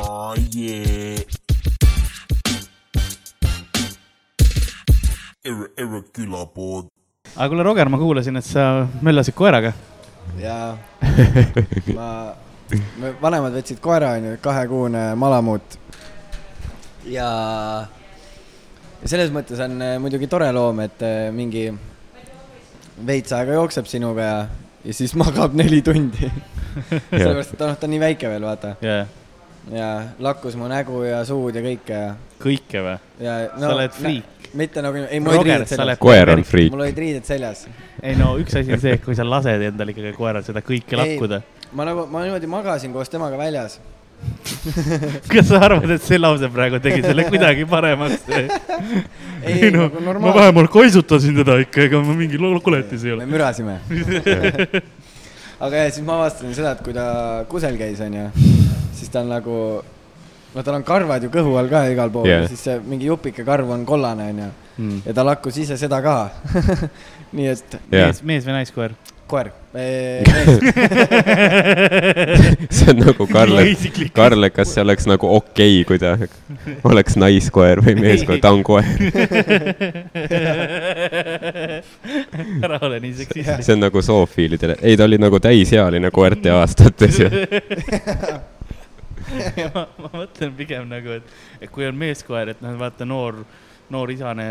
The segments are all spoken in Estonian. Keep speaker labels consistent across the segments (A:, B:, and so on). A: Oh yeah. Irre- Irregular pood.
B: aga kuule , Roger , ma kuulasin , et sa möllasid koeraga .
C: jaa ma , me vanemad võtsid koera , onju , kahekuune malamuut . ja , ja selles mõttes on äh, muidugi tore loom , et äh, mingi veits aega jookseb sinuga ja , ja siis magab neli tundi . sellepärast , et noh , ta on nii väike veel , vaata .
B: jaa ,
C: ja lakkus mu nägu ja suud ja kõike ja ,
B: kõike või ?
C: ja no, .
B: sa oled friik .
C: mitte nagu , ei mul olid
B: Roger,
C: riided
B: sa oled
C: seljas .
D: koer on friik .
C: mul olid riided seljas
B: ei no üks asi on see , et kui sa lased endal ikkagi koeral seda kõike
C: Ei.
B: lakkuda .
C: ma nagu , ma niimoodi magasin koos temaga väljas .
B: kas sa arvad , et see lause praegu tegi selle kuidagi paremaks ?
C: ei , ei nagu
B: ma
C: normaalne .
B: vähemalt koisutasin teda ikka , ega ma mingi lo- koletis ei
C: me
B: ole .
C: mürasime . aga ja siis ma avastasin seda , et kui ta kusel käis , onju , siis ta on nagu , no tal on karvad ju kõhu all ka igal pool
D: Jah. Hmm.
C: yeah. , siis see mingi jupike karv on kollane , onju , ja ta lakkus ise seda ka . nii et
D: jah ,
B: mees , mees või naiskoer ?
C: koer , mees ,
D: see on nagu Karl , et ,
B: isiklik .
D: Karl , et kas see oleks nagu okei okay, , kui ta oleks naiskoer või meeskoer , ta on koer .
B: ära ole nii seksistlik .
D: see on nagu zoofiilidele , ei , ta oli nagu täisealine koerte aastates ju .
B: ma, ma mõtlen pigem nagu , et , et kui on meeskoer , et noh , vaata noor , noor isane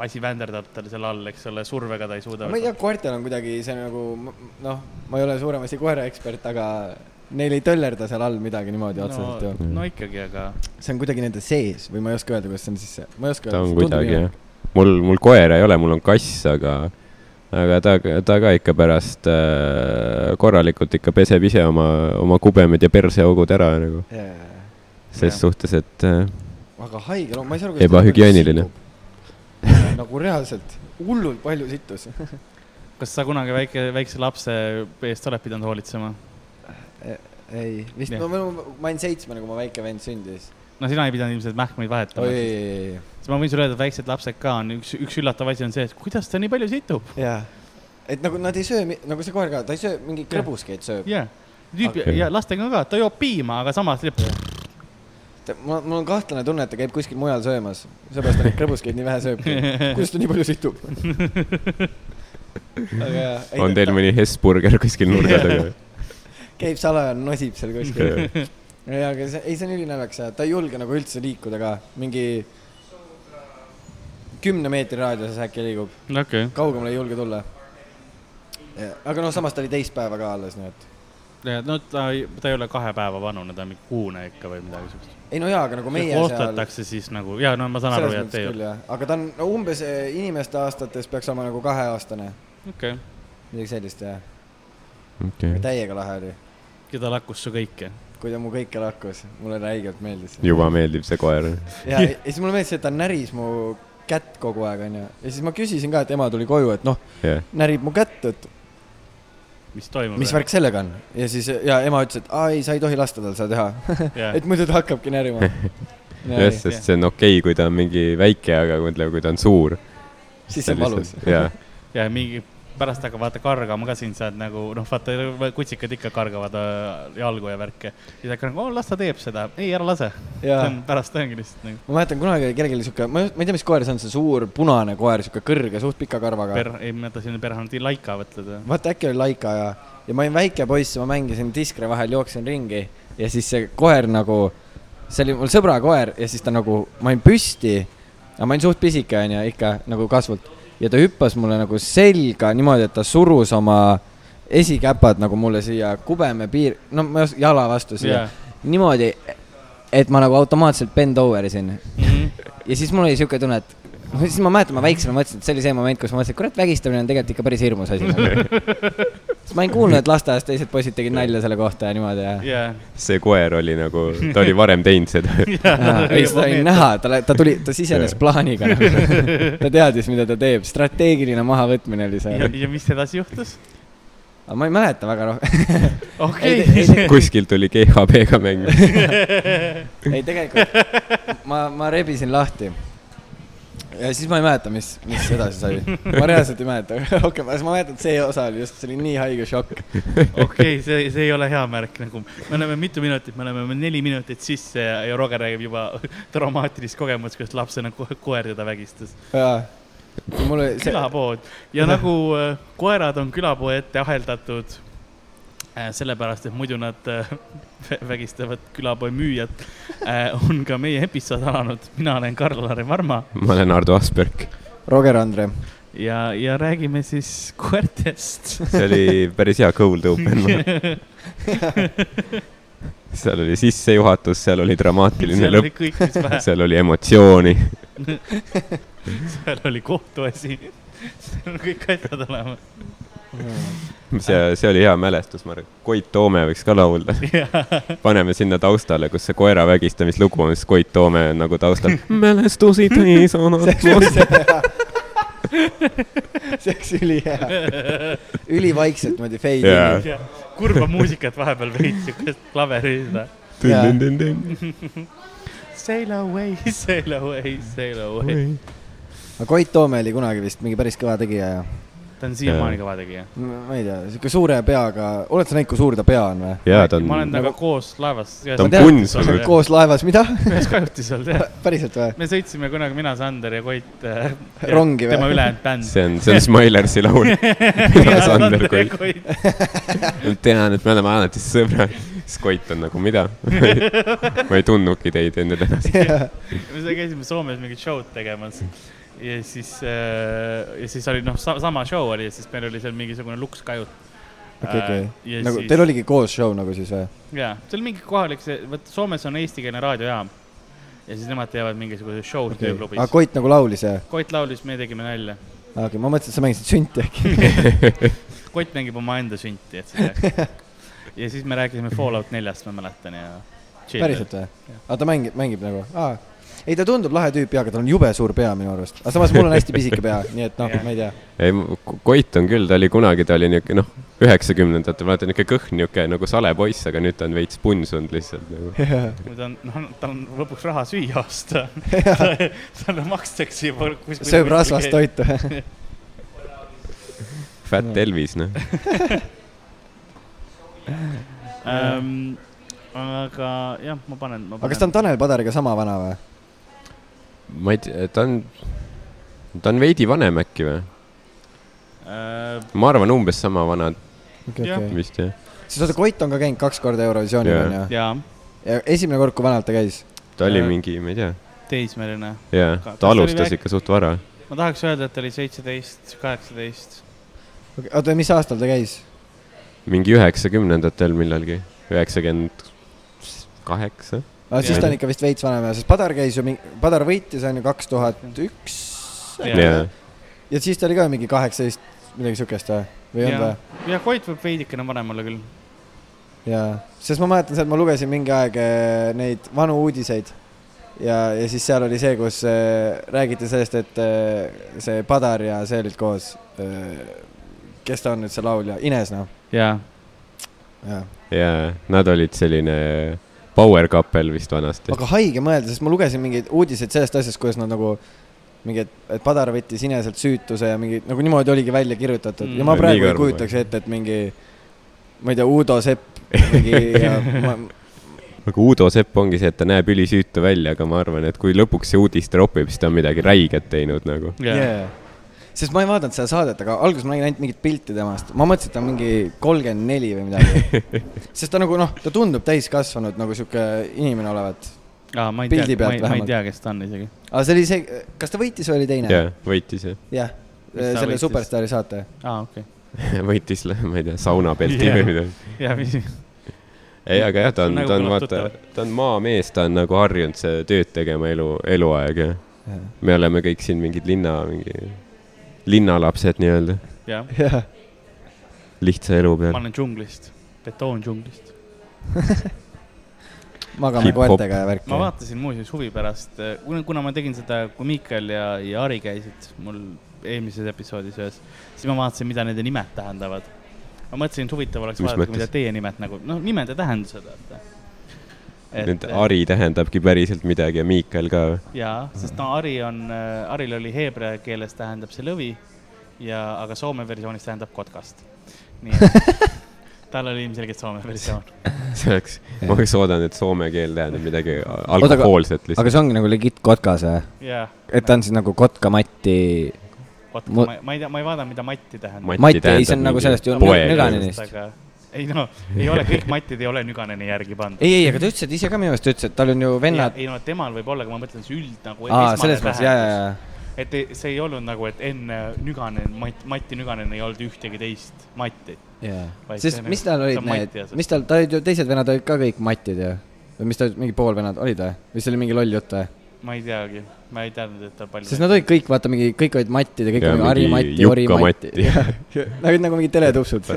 B: asi vänderdab tal seal all , eks ole , survega ta ei suuda .
C: ma ei tea , koertel on kuidagi see nagu m- noh , ma ei ole suuremasti koeraekspert , aga neil ei töllerda seal all midagi niimoodi otseselt ju
B: no, . no ikkagi , aga
C: see on kuidagi nende sees või ma ei oska öelda , kuidas see on sisse , ma ei oska
D: ta
C: öelda .
D: on kuidagi jah . mul , mul koera ei ole , mul on kass , aga , aga ta , ta ka ikka pärast äh, korralikult ikka peseb ise oma , oma kubemed ja perseaugud ära nagu .
C: jah .
D: ses
B: Jah.
D: suhtes , et äh,
C: aga haige loom , ma ei saa aru ,
D: Ebahügieeniline. .
C: nagu reaalselt , hullult palju sittus .
B: kas sa kunagi väike , väikse lapse eest oled pidanud hoolitsema ?
C: ei , vist
B: Jah.
C: ma , ma olin seitsmene , kui mu väike vend sündis .
B: no sina ei pidanud ilmselt mähkmeid vahetama .
C: oi ,
B: siis ma võin sulle öelda , et väiksed lapsed ka on üks , üks üllatav asi on see , et kuidas ta nii palju situb .
C: jah . et nagu nad ei söö , nagu see koer ka , ta ei söö , mingeid krõbuskeid sööb .
B: jaa , tüüp
D: Okei.
B: ja lastega ka , ta joob piima , aga samas teeb
C: mul , mul on kahtlane tunne , et ta käib kuskil mujal söömas , seepärast ta neid krõbuskeid nii vähe sööbki . kuidas ta nii palju situb ? aga jah .
D: on teil ? mõni Hesburger kuskil nurga taga või ?
C: käib salaja , nosib seal kuskil . ja , aga see , ei , see on ülinaljakas ja ta ei julge nagu üldse liikuda ka , mingi kümne meetri raadiuses äkki liigub ,
B: okei okay. ,
C: kaugemale ei julge tulla . aga noh , samas ta oli teist päeva ka alles , nii et .
B: no ta ei , ta ei ole kahe päeva vanune , ta on mingi kuune ikka või midagi siukest .
C: ei no jaa , aga nagu meie seal .
B: ostetakse siis nagu ja no ma saan aru , et ei ole .
C: aga ta on no, umbes eh, inimeste aastates peaks olema nagu kaheaastane ,
B: okei okay. ,
C: midagi sellist jah ,
D: okei ,
C: täiega lahe oli ,
B: keda lakkus su kõike ?
C: kui ta mu kõike lakkus , mulle räigelt meeldis .
D: juba meeldib see koer .
C: ja , ja siis mulle meeldis , et ta näris mu kätt kogu aeg onju , ja siis ma küsisin ka , et ema tuli koju , et noh ,
D: jah ,
C: närib mu kätt , et
B: mis toimub ?
C: mis ? värk sellega on ja siis ja ema ütles , et aa ei , sa ei tohi lasta tal seda teha , et muidu ta hakkabki närima .
D: jah , sest see on okei okay, , kui ta on mingi väike , aga mõtle , kui ta on suur .
C: siis see on valus .
D: jah ,
B: ja mingi pärast hakkab vaata kargama ka sind , saad nagu noh , vaata kutsikad ikka kargavad äh, jalgu ja värke . siis hakkad nagu , las ta teeb seda , ei ära lase .
C: ja
B: pärast ongi lihtsalt nagu
C: ma mäletan kunagi oli kellelgi siuke , ma ei ma ei tea , mis koer see on , see suur punane koer , siuke kõrge , suht pika karvaga .
B: per- , ei mäleta , selline perhanti laika mõtled või ?
C: vaata äkki oli laika ja , ja ma olin väike poiss ja ma mängisin diskre vahel , jooksin ringi ja siis see koer nagu , see oli mul sõbra koer ja siis ta nagu , ma olin püsti , aga ma olin suht pisike onju ikka nagu kasvult ja ta hüppas mulle nagu selga niimoodi , et ta surus oma esikäpad nagu mulle siia kubeme piir , no ma ei oska , jala vastu siia
B: Jaa.
C: yeah. , niimoodi , et ma nagu automaatselt bend over isin ja siis mul oli siuke tunne , et no siis ma mäletan , ma väiksena mõtlesin , et see oli see moment , kus ma mõtlesin , et kurat , vägistamine on tegelikult ikka päris hirmus asi . siis ma olin kuulnud , et lasteaias teised poisid tegid nalja selle kohta ja niimoodi ja .
B: jaa .
D: see koer oli nagu , ta oli varem teinud seda .
C: ei , seda oli näha , ta , ta tuli , ta sisenes plaaniga . ta teadis , mida ta teeb , strateegiline mahavõtmine oli
B: ja
C: see .,
B: ja mis edasi juhtus ?
C: aga ma ei mäleta väga rohkem .
B: okei
C: Ei, te- ei, te-
D: kuskilt oli GHB-ga mäng .
C: ei , tegelikult ma , ma rebisin lahti . ja siis ma ei mäleta , mis , mis edasi sai . ma reaalselt ei mäleta rohkem , aga siis ma mäletan , et see osa oli just , see oli nii haige šokk .
B: okei okay, , see , see ei ole hea märk nagu , me oleme mitu minutit , me oleme neli minutit sisse ja, ja Roger räägib juba traumaatilist kogemust , kuidas lapsena ko koer teda vägistas .
C: jaa . mul oli see ,
B: külapood ja nagu äh, koerad on külapoe ette aheldatud äh, sellepärast , et muidu nad äh, vä- vägistavad külapoe müüjat , on ka meie episood alanud . mina olen Karl-Lari Varma
D: ma olen Ardo Asperg .
C: Roger Andre .
B: ja , ja räägime siis koertest .
D: see oli päris hea cold open . seal oli sissejuhatus , seal oli dramaatiline
B: seal
D: lõpp ,
B: oli kõik , mis vähe ,
D: seal oli emotsiooni .
B: seal oli kohtuasi , seal on kõik asjad olemas .
D: see , see oli hea mälestus , ma arvan , Koit Toome võiks ka laulda . paneme sinna taustale , kus see koera vägistamislugu on , siis Koit Toome on nagu taustal . mälestusi täis on
C: see oli see hea . see oleks ülihea . ülivaikselt moodi fade
D: Jaa.
C: yeah. .
B: kurba muusikat vahepeal veits , siukest klaveri seda .
D: atmosfäär .
B: Sail away , sail away , sail away .
C: aga Koit Toome oli kunagi vist mingi päris kõva tegija ja
B: ta on siiamaani kõva tegija .
C: ma ma ei tea , sihuke suure peaga , oled sa näinud , kui suur ta pea on või ?
D: jaa , ta
B: ma olen nagu-
D: on ,
B: temaga koos laevas .
D: Ta on punns või?
B: ühes
C: koos laevas , mida ?
B: kajutis olnud jah .
C: päriselt või ?
B: me sõitsime kunagi , mina , Sander ja Koit äh, .
C: Rongi või?
B: tema ülejäänud bänd .
D: see on , see on Smilersi laul . mida Sander
B: nagu-
D: Koit .
B: Koit .
D: tean , et me oleme alati sõbrad . siis Koit on nagu , mida ? ma ei tundnudki teid enne täna .
B: me seal käisime Soomes mingit show'd tegemas ja siis äh, , ja siis oli noh sa , sama show oli ja siis meil oli seal mingisugune lukskajut .
C: okei , okei .
B: ja
C: nagu
B: siis-
C: teil oligi koos show nagu siis või ?
B: jaa , see oli mingi kohalik , see , vot Soomes on eestikeelne raadiojaam ja siis nemad teevad mingisuguse show okay.
C: aga
B: tööklubis .
C: Koit nagu laulis või ?
B: Koit laulis , me tegime nalja .
C: okei okay, , ma mõtlesin , et sa mängisid sünti äkki .
B: Koit mängib omaenda sünti , et sa tead . ja siis me rääkisime Fallout neljast , ma mäletan ja .
C: päriselt või ? aga ta mängib , mängib nagu ah. ? ei , ta tundub lahe tüüp jaa , aga tal on jube suur pea minu arust . aga samas mul on hästi pisike pea , nii et noh , ma ei tea .
D: ei , Koit on küll , ta oli kunagi , ta oli niuke , noh , üheksakümnendatel , vaata niuke kõhn niuke nagu sale poiss , aga nüüd ta on veits punsunud lihtsalt nagu .
B: ta on , noh , tal on lõpuks raha süüa osta . talle makstakse juba .
C: sööb rasvast . toitu .
D: Fat Elvis , noh .
B: ähm, . aga jah , ma panen , ma panen .
C: aga kas ta on Tanel Padariga sama vana või ?
D: ma ei tea , ta on , ta on veidi vanem äkki või ?
B: äh, ?
D: ma arvan , umbes sama vana
C: okei ,
B: Jah.
C: okei .
D: vist jah .
C: siis oota , Koit on ka käinud kaks korda Eurovisioonil
D: Jaa.
C: onju .
B: jaa ,
C: ja esimene kord , kui vanalt ta käis .
D: ta oli
B: Äh,
D: mingi , ma ei tea ,
B: teismeline .
D: jaa
B: kas , ta
D: ta
B: oli
D: alustas
B: väike-
D: ikka suht vara .
B: ma tahaks öelda , et ta oli seitseteist , kaheksateist .
C: oota , mis aastal ta käis ?
D: mingi üheksakümnendatel millalgi , üheksakümmend kaheksa .
C: aga siis
B: Jaa.
C: ta on ikka vist veits vanem ja , sest Padar käis ju , Padar võitis onju kaks tuhat üks
D: jaa ,
C: ja siis ta oli ka mingi kaheksateist , midagi siukest või ? või ei olnud või ?
B: ja Koit võib veidikene vanem olla küll .
C: jaa , sest ma mäletan sealt , ma lugesin mingi aeg eh, neid vanu uudiseid ja , ja siis seal oli see , kus eh, räägiti sellest , et eh, see Padar ja see olid koos . kes ta on nüüd see laulja , Ines noh ,
B: jaa ,
C: jaa .
D: jaa , nad olid selline power couple vist vanasti .
C: aga haige mõelda , sest ma lugesin mingeid uudiseid sellest asjast , kuidas nad nagu mingi , et , et Padar võttis Ineselt süütuse ja mingi nagu niimoodi oligi välja kirjutatud mm. ja ma
D: Mm. Nii
C: praegu ei
D: karm-
C: kujutaks ette , et mingi , ma ei tea , Uudo Sepp mingi ja ma ,
D: aga Uudo Sepp ongi see , et ta näeb ülisüütu välja , aga ma arvan , et kui lõpuks see uudis tropib , siis ta on midagi räiget teinud nagu .
B: jaa .
C: yeah. . sest ma ei vaadanud seda saadet , aga alguses ma nägin ainult mingit pilti temast , ma mõtlesin , et ta on mingi kolmkümmend neli või midagi . sest ta nagu noh , ta tundub täiskasvanud nagu sihuke inimene olevat .
B: aa , ma ei tea ,
C: Pildi
B: ma
C: pealt
B: ei , ma ei
C: vähemalt.
B: tea , kes ta on isegi .
C: aga see oli see , kas ta võitis või oli teine ?
D: jaa , võitis jah ,
C: jah ,
B: Mis ta
C: selle
B: võitis?
C: Superstaari saate .
B: aa , okei .
D: võitis , ma ei tea , sauna pelti yeah.
B: Jaa.
D: või midagi .
B: jaa , mis ,
D: ei , aga jah , ta on
B: Nagu ,
D: ta on
B: kõlab
D: vaata , ta on maamees , ta on nagu harjunud see tööd tegema elu , eluaeg ja me oleme kõik siin mingid linna , mingi linnalapsed nii-öelda ,
B: jah ,
C: jah ,
D: lihtsa elu
B: ma
D: peal .
B: olen džunglist , betoondžunglist .
C: magame
D: Hip-hop.
C: koertega ja värki
B: ma . vaatasin muuseas huvi pärast , kuna , kuna ma tegin seda , kui Miikal ja , ja Ari käisid mul eelmises episoodis ühes , siis ma vaatasin , mida nende nimed tähendavad . ma mõtlesin , et huvitav oleks
D: Mis
B: vaadata ,
D: mõttes?
B: mida teie nimed nagu , noh , nimed ja tähendused , vaata .
D: nüüd Ari tähendabki päriselt midagi ja Miikal ka või ?
B: jaa , sest no ari on , aril oli heebrea keeles tähendab see lõvi ja , aga soome versioonis tähendab kotkast . nii et tal oli ilmselgelt soome versioon .
D: see oleks , ma oleks oodanud , et soome keel tähendab midagi
C: aga-
D: alkohoolset
C: aga
D: lihtsalt .
C: see ongi nagu legit kotkas või ?
B: jaa .
C: et ta on siis nagu kotkamatti ,
B: kotka
C: mu-
B: mu... , ma ei tea , ma ei vaadanud , mida matti tähendab .
C: Matti, ei, see on nagu sellest ju Nüganenist.
B: ei no , ei ole , kõik mattid ei ole Nüganeni järgi pandud .
C: ei , ei , aga ta ütles , et ise ka minu arust ütles , et tal on ju vennad ,
B: ei no temal võib olla , aga ma mõtlen , see üld nagu .
C: aa , selles mõttes , jaa , jaa , jaa .
B: et ei- see ei olnud nagu , et enne Nüganen , Matt , Mati Nüganen ei olnud ühtegi teist Matti .
C: jaa ,
B: Vaid see
C: sest
B: on
C: mis
B: ju-
C: tal
B: see
C: olid
B: on
C: need
B: Mati ja see- ,
C: mis tal , tal olid ju teised vennad olid ka kõik mattid ju . või mis ta , mingi poolvennad olid või ? või see oli mingi loll jutt või ?
B: ma ei teagi , ma ei teadnud , et ta palju .
C: sest nad olid kõik , vaata mingi , kõik olid mattid ja kõik
D: Ja
C: olid Harri
D: mingi
C: Matti , Ori
D: Jukka
C: Matti .
D: Matti.
C: Nad olid nagu mingid teletupsud .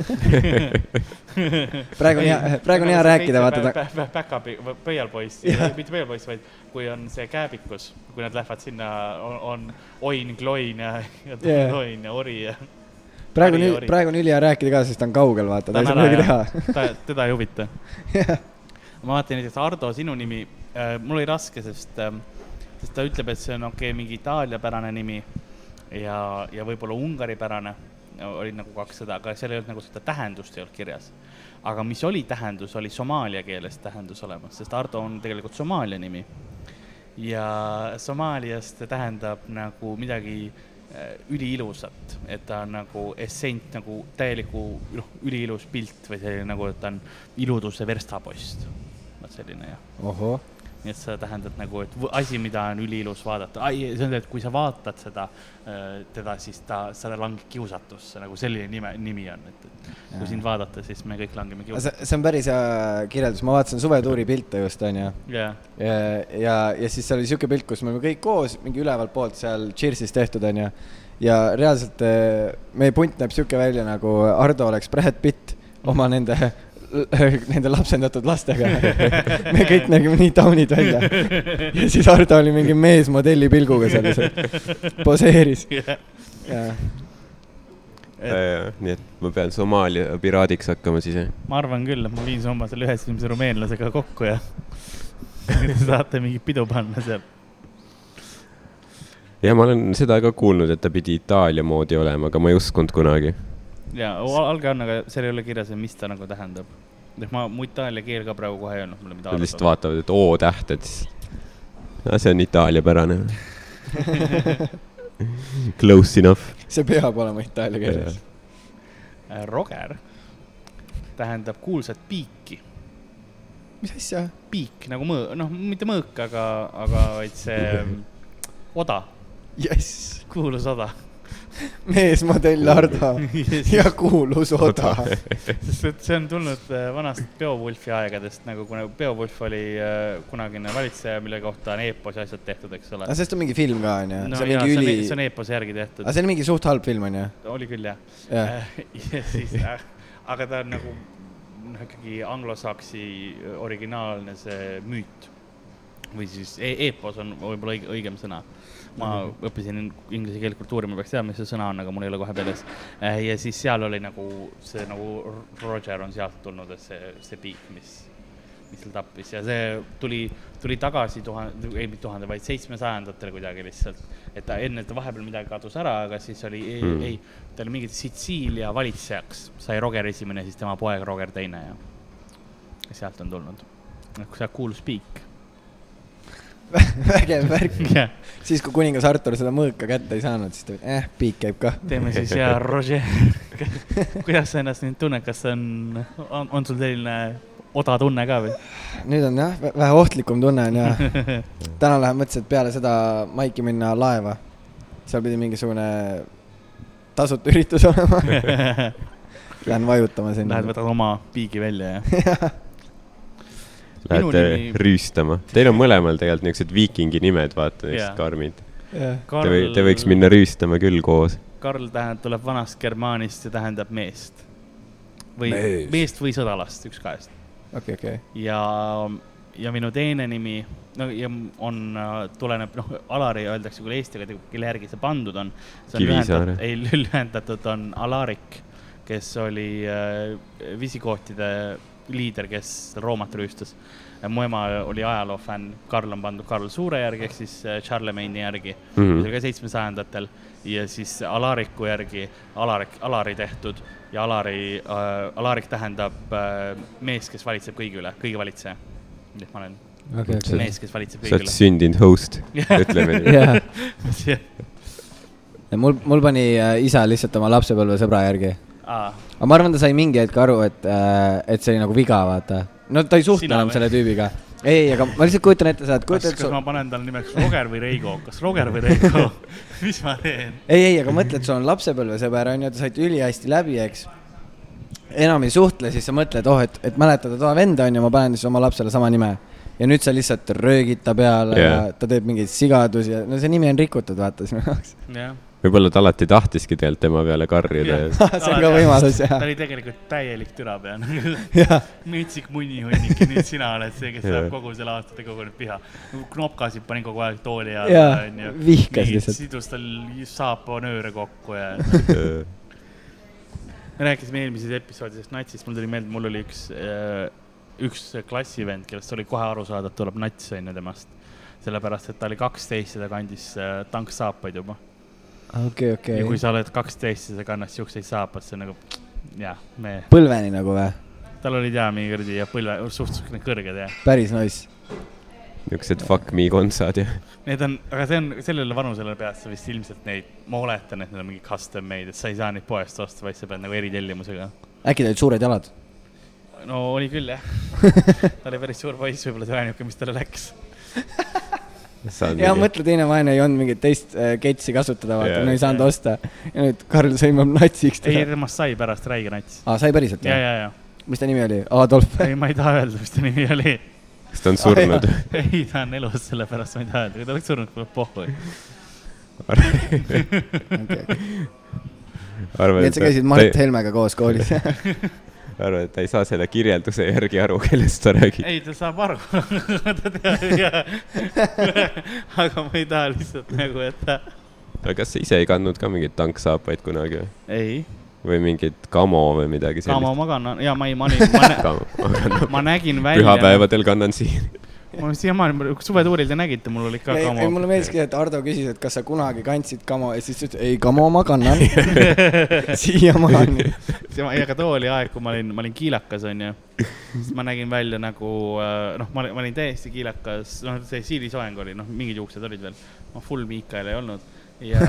C: praegu on hea , praegu
B: nagu
C: on hea rääkida , vaata ta .
B: ta . Päkapi , pöialpoiss , mitte pöialpoiss , vaid kui on see kääbikus , kui nad lähevad sinna , on oin , kloin ja , ja
C: Jaa.
B: toin ja ori ja
C: praegu on
B: Harri- , Ori.
C: praegu on ülihea rääkida ka , sest ta on kaugel , vaata ,
B: Ta
C: ta ei
B: on
C: saa
B: ära,
C: midagi teha
B: jah. . ta , teda ei huvita . ma vaatan näiteks Ardo , sinu nimi äh, , mul oli raske , sest äh, , sest ta ütleb , et see on okei okay, , mingi itaaliapärane nimi ja , ja võib-olla ungaripärane . olid nagu kaks seda , aga seal ei olnud nagu seda tähendust ei olnud kirjas . aga mis oli tähendus , oli somaalia keeles tähendus olemas , sest Ardo on tegelikult Somaalia nimi . ja Somaalias ta tähendab nagu midagi äh, üliilusat , et ta on nagu essent nagu täieliku , noh , üliilus pilt või selline nagu , et ta on iluduse verstapost . vot selline jah
C: ohoh ,
B: nii et see tähendab nagu , et võ- asi , mida on üliilus vaadata , see on , et kui sa vaatad seda , teda , siis ta , sa langed kiusatusse , nagu selline nime , nimi on , et , et
C: Jaa.
B: kui sind vaadata , siis me kõik langeme
C: see ,
B: kiusatusse .
C: see on päris hea kirjeldus , ma vaatasin suvetuuri pilte just , onju .
B: jaa ,
C: ja , ja , ja siis seal oli siuke pilt , kus me olime kõik koos , mingi ülevalt poolt seal Cheersis tehtud , onju . ja reaalselt eh, meie punt näeb siuke välja , nagu Ardo oleks Brad Pitt oma nende , nende lapsendatud lastega . me kõik nägime nii taunid välja . ja siis Ardo oli mingi meesmodelli pilguga seal lihtsalt , poseeris .
D: nii et ma pean Somaalia piraadiks hakkama siis , jah ?
B: ma arvan küll , et ma viin Soomas selle ühe esimese rumeenlasega kokku ja saate mingi pidu panna seal .
D: ja ma olen seda ka kuulnud , et ta pidi Itaalia moodi olema , aga ma ei uskunud kunagi .
B: jaa , alge on , aga seal ei ole kirjas , et mis ta nagu tähendab . noh , ma , mu itaalia keel ka praegu kohe ei olnud mulle
D: Nad
B: midagi .
D: lihtsalt vaatavad , et O täht , et siis , no see on itaaliapärane . Close enough .
C: see peab olema itaalia keeles .
B: Äh, Roger tähendab kuulsat piiki
C: mis asja ?
B: piik nagu mõõ- , noh , mitte mõõk , aga , aga vaid see oda ,
C: jess ,
B: kuulus oda .
C: meesmodell Ardo ja kuulus Oda .
B: sest et see on tulnud äh, vanast Beowulfi aegadest nagu , kuna Beowulf oli äh, kunagine valitseja , mille kohta on eepos ja asjad tehtud , eks ole
C: aga . sellest on mingi film ka onju no, , see on
B: jaa,
C: mingi
B: on
C: üli
B: e- , see on eepose järgi tehtud
C: aga , see on mingi suht halb film onju .
B: oli küll jah .
C: jah ,
B: ja siis , aga ta on nagu noh , ikkagi anglosaksi originaalne see müüt või siis e eepos on võib-olla õige , õigem sõna . ma
C: Mhm.
B: õppisin in- inglise keelt kultuuri , ma peaks teadma , mis see sõna on , aga mul ei ole kohe peales . ja siis seal oli nagu see nagu R- Roger on sealt tulnud , et see , see piik , mis , mis seal tappis ja see tuli , tuli tagasi tuhande , ei mitte tuhande , vaid seitsmesajandatel kuidagi lihtsalt . et ta enne , ta vahepeal midagi kadus ära , aga siis oli mm. ,
D: Mm.
B: ei , ta oli mingi Sitsiilia valitsejaks , sai Roger esimene , siis tema poeg Roger teine ja ja sealt on tulnud . Noh, see kuulus piik .
C: vägev värk .
B: jah ,
C: siis , kui kuningas Artur seda mõõka kätte ei saanud , siis ta , eh , piik käib kah .
B: teeme siis ja Roger , kuidas sa ennast nüüd tunned , kas see on, on , on sul selline oda tunne ka või ?
C: nüüd on jah , vähe ohtlikum tunne on jah . täna lähen mõtlesin , et peale seda Maiki minna laeva . seal pidi mingisugune tasuta üritus olema . Lähen vajutama sinna
B: Lähed . võtad oma piigi välja ja Minu
D: Lähete
B: nimi-
D: rüüstama . Teil on mõlemal tegelikult niisugused viikingi nimed , vaata ,
B: Jaa.
D: niisugused karmid . Te,
B: Karl
D: või, te võiks minna rüüstama küll koos .
B: Karl tähendab , tuleb vanast germaanist ja tähendab meest või
A: Mees.
B: mees. meest või sõdalast , üks kahest .
C: okei , okei .
B: ja , ja minu teine nimi , no ja m- on , tuleneb , noh , Alari öeldakse küll Eesti , aga tegelikult kelle järgi see pandud on .
D: Kivisaare.
B: ei , lühendatud on Alarik , kes oli äh, visikohtide liider , kes Roomat rüüstas . mu ema oli ajaloofänn , Karl on pandud Karl Suure järgi ehk siis äh, Charlemagne'i järgi mm , -hmm. see oli ka seitsmesajandatel ja siis Alariku järgi Alarik , Alari tehtud ja Alari äh, , Alarik tähendab äh, mees , kes valitseb kõigi üle , kõigi valitseja . nii et ma olen
E: okei ,
D: See-
E: okei .
B: mees , kes valitseb
D: sa
B: kõigi
D: oled sündinud host , ütleme nii .
C: jah ,
B: üle .
C: mul , mul pani äh, isa lihtsalt oma lapsepõlvesõbra järgi .
B: Ah,
C: aga ma arvan , ta sai mingi hetk aru , et , et see oli nagu viga , vaata . no ta ei suhtle
B: Sina
C: enam
B: või?
C: selle tüübiga . ei , aga ma lihtsalt kujutan ette seda , et
B: kas ,
C: kujutad
B: kas
C: sul
B: ma , panen talle nimeks Roger või Reigo , kas Roger või Reigo ? mis ma teen ?
C: ei , ei , aga mõtle , et sul on lapsepõlvesõber , onju , te saite ülihästi läbi , eks . enam ei suhtle , siis sa mõtled , oh , et , et mäletada toda venda , onju , ma panen siis oma lapsele sama nime . ja nüüd sa lihtsalt röögid ta peale yeah.
D: Jaa.
C: ja ta teeb mingeid sigadusi ja no see nimi on rikutud , vaata sinu jaoks .
B: jah ,
D: võib-olla ta alati tahtiski tegelikult tema peale karjuda
B: Jah.
D: ja
C: see on ka võimalus ,
B: ta
C: jah .
B: oli tegelikult täielik türapea
C: jah ,
B: metsik munnihunnik ja nüüd sina oled see , kes
D: Jaa.
B: saab kogu selle aastate kogunenud piha . knopkasid panin kogu aeg tooli
C: Jaa,
B: alla , onju .
C: vihkas lihtsalt.
B: sidus tal saapanööre kokku ja .
D: öö,
B: me rääkisime eelmises episoodides natsist , mul tuli meelde , mul oli üks , üks klassivend , kellest oli kohe aru saada , et tuleb nats , onju temast . sellepärast , et ta oli kaksteist ja ta kandis äh, tanksaapaid juba .
C: okei ,
B: ja kui
C: okei .
B: sa oled kaksteist ja sa kannad siukseid saapaid , see on nagu , jah , me ,
C: põlveni nagu või ?
B: tal olid ja mingi kuradi ja põlve suhteliselt kõrged ja
C: päris nice .
D: niisugused fuck me kontsad ja
B: Need on , aga see on sellele vanusele pead sa vist ilmselt neid , ma oletan , et need on mingi custom made , et sa ei saa neid poest osta , vaid sa pead nagu eritellimusega .
C: äkki tal olid suured jalad ?
B: no oli küll jah , ta oli päris suur poiss , võib-olla see oli ainuke , mis talle läks .
D: saad
C: ja
D: mingi
C: mõtle , teine vaene ei olnud mingit teist äh, ketsi kasutada , vaata
D: Jaa.
C: yeah. , no ei saanud osta . ja nüüd Karl sõimab natsiks
B: ei ,
C: teda .
B: temast sai pärast räige nats .
C: aa , sai päriselt
B: ja ,
C: või ?
B: ja , ja ,
C: mis ta nimi oli ? Adolf ?
B: ei , ma ei taha öelda , mis ta nimi oli .
D: kas ta on surnud
B: ei , ta on elus , sellepärast ma ei taha öelda , kui ta oleks surnud , kui pohhu .
D: arvad ,
C: nii et sa käisid Mart Helmega koos koolis ?
D: arvad , et ta ei saa selle kirjelduse järgi aru , kellest sa räägid .
B: ei , ta saab aru , ta teab ja , aga ma ei taha lihtsalt nagu , et ta .
D: aga kas sa ise ei kandnud ka mingeid tanksaapaid kunagi või?
B: ei ,
D: või mingit kamo või midagi
B: ka ma
D: sellist ?
B: magan ja ma ei , ma olin , ma ,
D: kamo .
B: ma nägin välja .
D: pühapäevadel kannan siin .
B: ma siiamaani , suvetuuril te nägite , mul oli ka
C: ei , ei
B: kamo .
C: mulle meeldiski , et Ardo küsis , et kas sa kunagi kandsid kamo ja siis ta ütles , ei kamo ma kannan . siiamaani .
B: ei , aga too oli aeg , kui ma olin , ma olin kiilakas , onju . siis ma nägin välja nagu , noh , ma olin , ma olin täiesti kiilakas , noh , see siilisoeng oli , noh , mingid juuksed olid veel . ma full Miikael ei olnud ja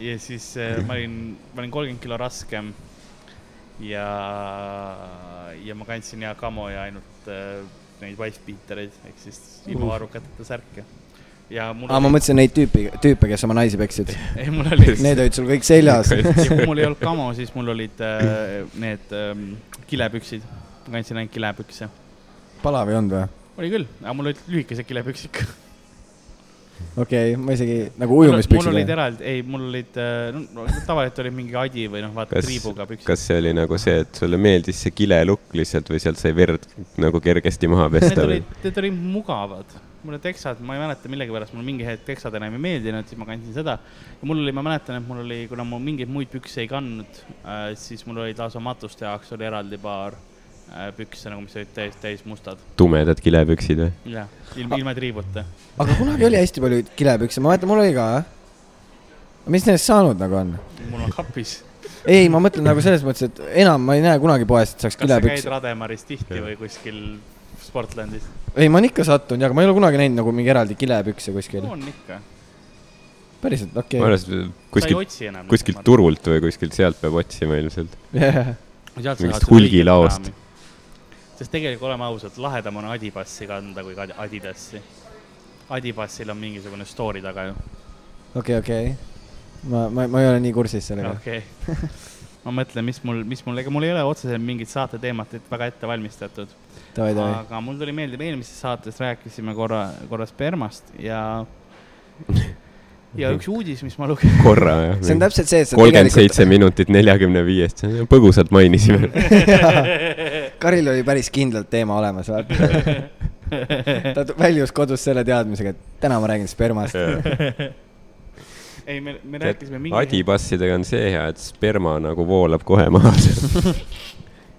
B: ja siis äh, ma olin , ma olin kolmkümmend kilo raskem . ja , ja ma kandsin ja kamo ja ainult äh, neid wife-beatereid ehk siis ilma varrukateta särke . ja mul
C: aa , ma mõtlesin neid tüüpi , tüüpe , kes oma naisi peksid .
B: ei , mul oli
C: Need olid sul kõik seljas .
B: ja kui mul ei olnud kamo , siis mul olid äh, need ähm, kilepüksid . ma kandsin ainult kilepükse .
C: palav ei olnud või ?
B: oli küll , aga mul olid lühikesed kilepüksid ka .
C: okei okay, , ma isegi nagu
B: mul
C: ujumispüksid .
B: olid eraldi , ei , mul olid äh, , no tavaliselt oli mingi adi või noh , vaata
D: Kas-
B: triibuga püksid .
D: kas see oli nagu see , et sulle meeldis see kilelukk lihtsalt või sealt sai verd nagu kergesti maha
B: Need
D: pesta või
B: olid , need olid mugavad . mulle teksad , ma ei mäleta , millegipärast mulle mingi hetk teksad enam ei meeldinud , siis ma kandsin seda . ja mul oli , ma mäletan , et mul oli , kuna ma mingeid muid pükse ei kandnud äh, , siis mul oli lausa matuste jaoks oli eraldi paar äh, pükse nagu , mis olid täis , täis mustad .
D: tumedad kilepüksid või ?
B: jah , ilma , ilma triibuta
C: aga kunagi oli hästi palju kilepükse , ma mäletan , mul oli ka . mis nendest saanud nagu on ?
B: mul on kapis .
C: ei , ma mõtlen nagu selles mõttes , et enam ma ei näe kunagi poes , et saaks
B: kas sa käid
C: kilepükse .
B: Rademaris tihti või kuskil Sportlandis ?
C: ei , ma olen ikka sattunud ja , aga ma ei ole kunagi näinud nagu mingi eraldi kilepükse kuskil .
B: on ikka .
C: päriselt , okei
D: ma arvan , et
B: sa ei
D: kuskilt ,
B: otsi enam .
D: kuskilt . turult või kuskilt sealt peab otsima ilmselt .
C: okay. .
D: mingist hulgilaost. .
B: sest tegelikult oleme ausad , lahedam on Adibassi kanda kui kad- Adidassi . Adibassil on mingisugune story taga ju .
C: okei , okei . ma , ma , ma ei ole nii kursis sellega .
B: okei . ma mõtlen , mis mul , mis mul , ega mul ei ole otseselt mingit saate teemat et väga ette valmistatud .
C: davai , davai .
B: aga mul tuli meelde , me eelmises saates rääkisime korra , korra spermast ja , ja üks uudis , mis ma lugesin .
D: korra jah .
C: see on täpselt see , et sa
D: kolmkümmend
C: tegelikult ,
D: seitse minutit neljakümne viiest , põgusalt mainisime .
C: Karil oli päris kindlalt teema olemas , vaata . ta tu- väljus kodust selle teadmisega , et täna ma räägin spermast .
B: ei , me , me rääkisime mingi .
D: adipassidega on see hea , et sperma nagu voolab kohe maha sealt .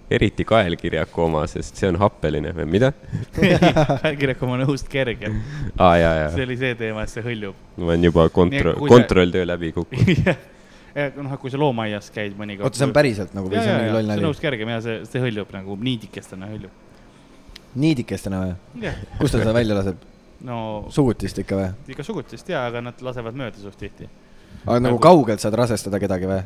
D: eriti kaelkirjaku oma , sest see on happeline või mida ?
B: kaelkirjak on õhust kerge .
D: aa , jaa ,
B: see
D: jaa ,
B: oli see teema , et see hõljub .
D: ma olen juba kontro-
B: Nii, , kui see-
D: kontrolltöö läbi kukkunud .
B: noh , kui sa loomaaias käid mõnikord .
C: oota , see on päriselt nagu või
B: ja ,
C: see on
B: ja ,
C: mingi
B: ja
C: loll
B: see on
C: nali ?
B: õhust kergem ja see , see hõljub nagu niidikestena hõljub .
C: niidikestena või ?
B: jah ,
C: kust ta seda välja laseb ?
B: no
C: sugutist ikka või ?
B: ikka sugutist ja , aga nad lasevad mööda suht tihti .
C: aga nagu
B: Nagu-
C: kaugelt saad rasestada kedagi või ?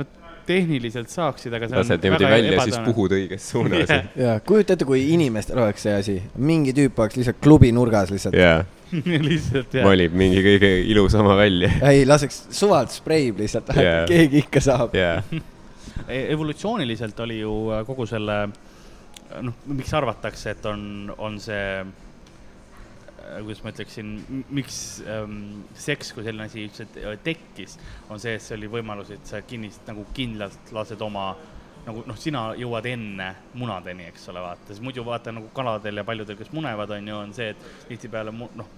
B: no Äh, tehniliselt saaksid , aga see on
D: lased niimoodi
B: väga
D: välja , siis
B: ebatavane.
D: puhud õiges suunas
B: Jah. .
C: jaa , kujuta ette , kui inimestel oleks see asi , mingi tüüp oleks lihtsalt klubi nurgas lihtsalt yeah. ,
D: jaa ,
B: lihtsalt jah .
D: valib mingi kõige ilusama välja .
C: ei laseks suvalt spreib lihtsalt yeah.
D: Jaa. ,
C: keegi ikka saab yeah. .
D: jaa ,
B: E, evolutsiooniliselt oli ju äh, kogu selle , noh , miks arvatakse , et on , on see , äh, kuidas ma ütleksin , miks ähm, seks kui selline asi üldse te- äh, tekkis , on see , et see oli võimalus , et sa kinnist nagu kindlalt lased oma nagu noh , sina jõuad enne munadeni , eks ole , vaata , sest muidu vaata nagu kaladel ja paljudel , kes munevad , on ju , on see , et tihtipeale mu- noh ,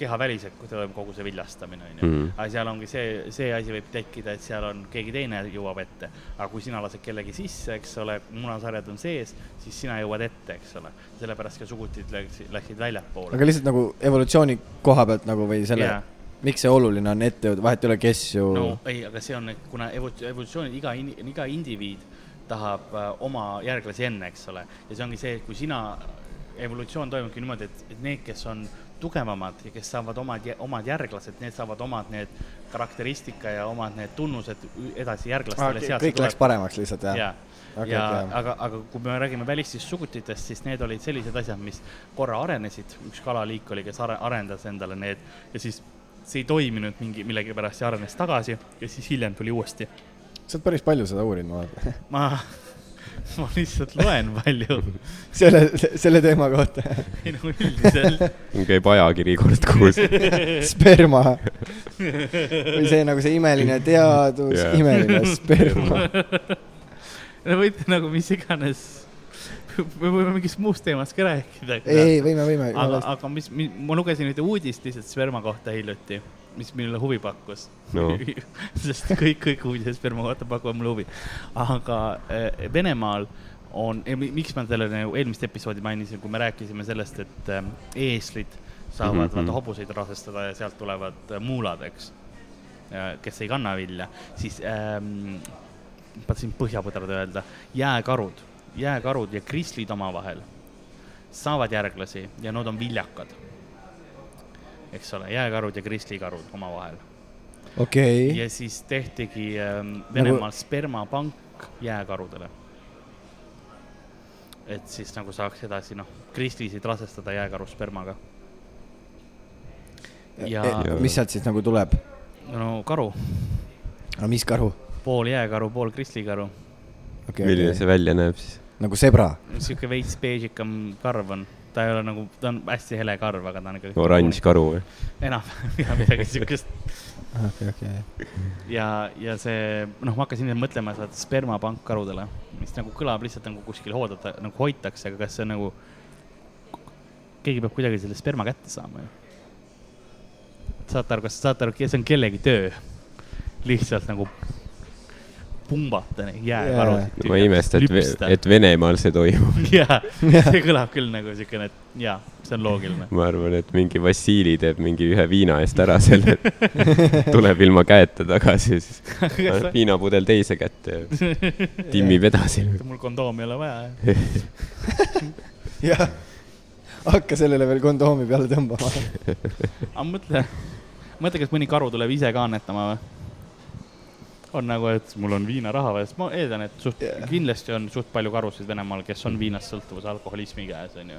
B: kehaväliselt toimub kogu see viljastamine , on ju
D: Mhm.
B: aga seal ongi see , see asi võib tekkida , et seal on keegi teine jõuab ette , aga kui sina lased kellegi sisse , eks ole , munasarjad on sees , siis sina jõuad ette , eks ole , sellepärast ka sugutid läksid , läksid väljapoole .
C: aga lihtsalt nagu evolutsiooni koha pealt nagu või selle
B: Jaa.
C: yeah. , miks see oluline on ette jõuda , vahet ei ole , kes ju
B: no
C: no.
B: ei , aga see on , kuna evolut- evolutsioon , iga , iga indiviid tahab äh, oma järglasi enne , eks ole , ja see ongi see , kui sina , evolutsioon toimubki niimoodi , et , et need , kes on tugevamad ja kes saavad omad , omad järglased , need saavad omad need karakteristika ja omad need tunnused ü- edasi järglastele .
C: kõik läks paremaks lihtsalt jah
B: ja
C: yeah. ?,
B: ja,
C: Okei,
B: ja
C: okei, jah.
B: aga , aga kui me räägime välistest sugutitest , siis need olid sellised asjad , mis korra arenesid , üks kalaliik oli , kes are, arendas endale need ja siis see ei toiminud mingi millegipärast ja arenes tagasi ja siis hiljem tuli uuesti .
C: sa oled päris palju seda uurinud , ma vaatan .
B: ma , ma lihtsalt loen palju ,
C: selle , selle teema kohta .
B: ei no üldiselt
D: käib ajakiri kord kuus .
C: sperma . või see nagu see imeline teadus
D: Jaa.
C: yeah. , imeline sperma .
B: no võite nagu mis iganes , me võime mingist muust teemast ka rääkida .
C: ei , võime , võime .
B: aga , aga mis, mis , ma lugesin ühte uudist lihtsalt sperma kohta hiljuti , mis minule huvi pakkus
D: No.
B: sest kõik , kõik uudised sperma kohta pakuvad mulle huvi . aga eh, Venemaal on , miks ma selle nagu eelmist episoodi mainisin , kui me rääkisime sellest , et eh, eeslid saavad mm
D: Mhm.
B: -hmm. vaata hobuseid rasestada ja sealt tulevad eh, muulad , eks , kes ei kanna vilja , siis ähm, tahtsin põhjapõdrad öelda , jääkarud , jääkarud ja krislid omavahel saavad järglasi ja nad on viljakad . eks ole , jääkarud ja krislikarud omavahel .
C: okei ,
B: ja siis tehtigi ähm, Venemaal spermapank jääkarudele . et siis nagu saaks edasi , noh , krislisid rasestada jääkaru spermaga . ja
C: mis sealt siis nagu tuleb ?
B: no karu ,
C: aga mis karu ?
B: pool jääkaru , pool krislikaru ,
C: okei
D: milline , see välja näeb siis ?
C: nagu zebra .
B: niisugune veits beežikam karv on ta ei ole nagu , ta on hästi hele karv , aga ta on ikkagi .
D: oranž . karu või ?
B: enam-vähem jah , midagi siukest .
C: okei , okei .
B: ja , ja see , noh , ma hakkasin mõtlema seda spermapank karudele , mis nagu kõlab lihtsalt nagu kuskil hoodata , nagu hoitakse , aga kas see on nagu , keegi peab kuidagi selle sperma kätte saama ju . saate aru , kas saate aru , see on kellegi töö , lihtsalt nagu pumbata neid jääkarusid
D: ma ei imesta , et ,
B: lüpsta.
D: et Venemaal see toimub .
B: jaa , see kõlab küll nagu siukene , et jaa , see on loogiline .
D: ma arvan , et mingi Vassili teeb mingi ühe viina eest ära selle , tuleb ilma käeta tagasi , siis paneb viinapudel teise kätte ja timmib edasi .
B: mul kondoomi ei ole vaja ,
C: jah , hakka sellele veel kondoomi peale tõmbama .
B: aga mõtle , mõtle , kas mõni karu tuleb ise ka annetama või ? on nagu , et mul on viinaraha või , sest ma eeldan , et suht yeah.
C: Jah. ,
B: kindlasti on suht palju karusid Venemaal , kes on viinast sõltuvus alkoholismi käes , onju .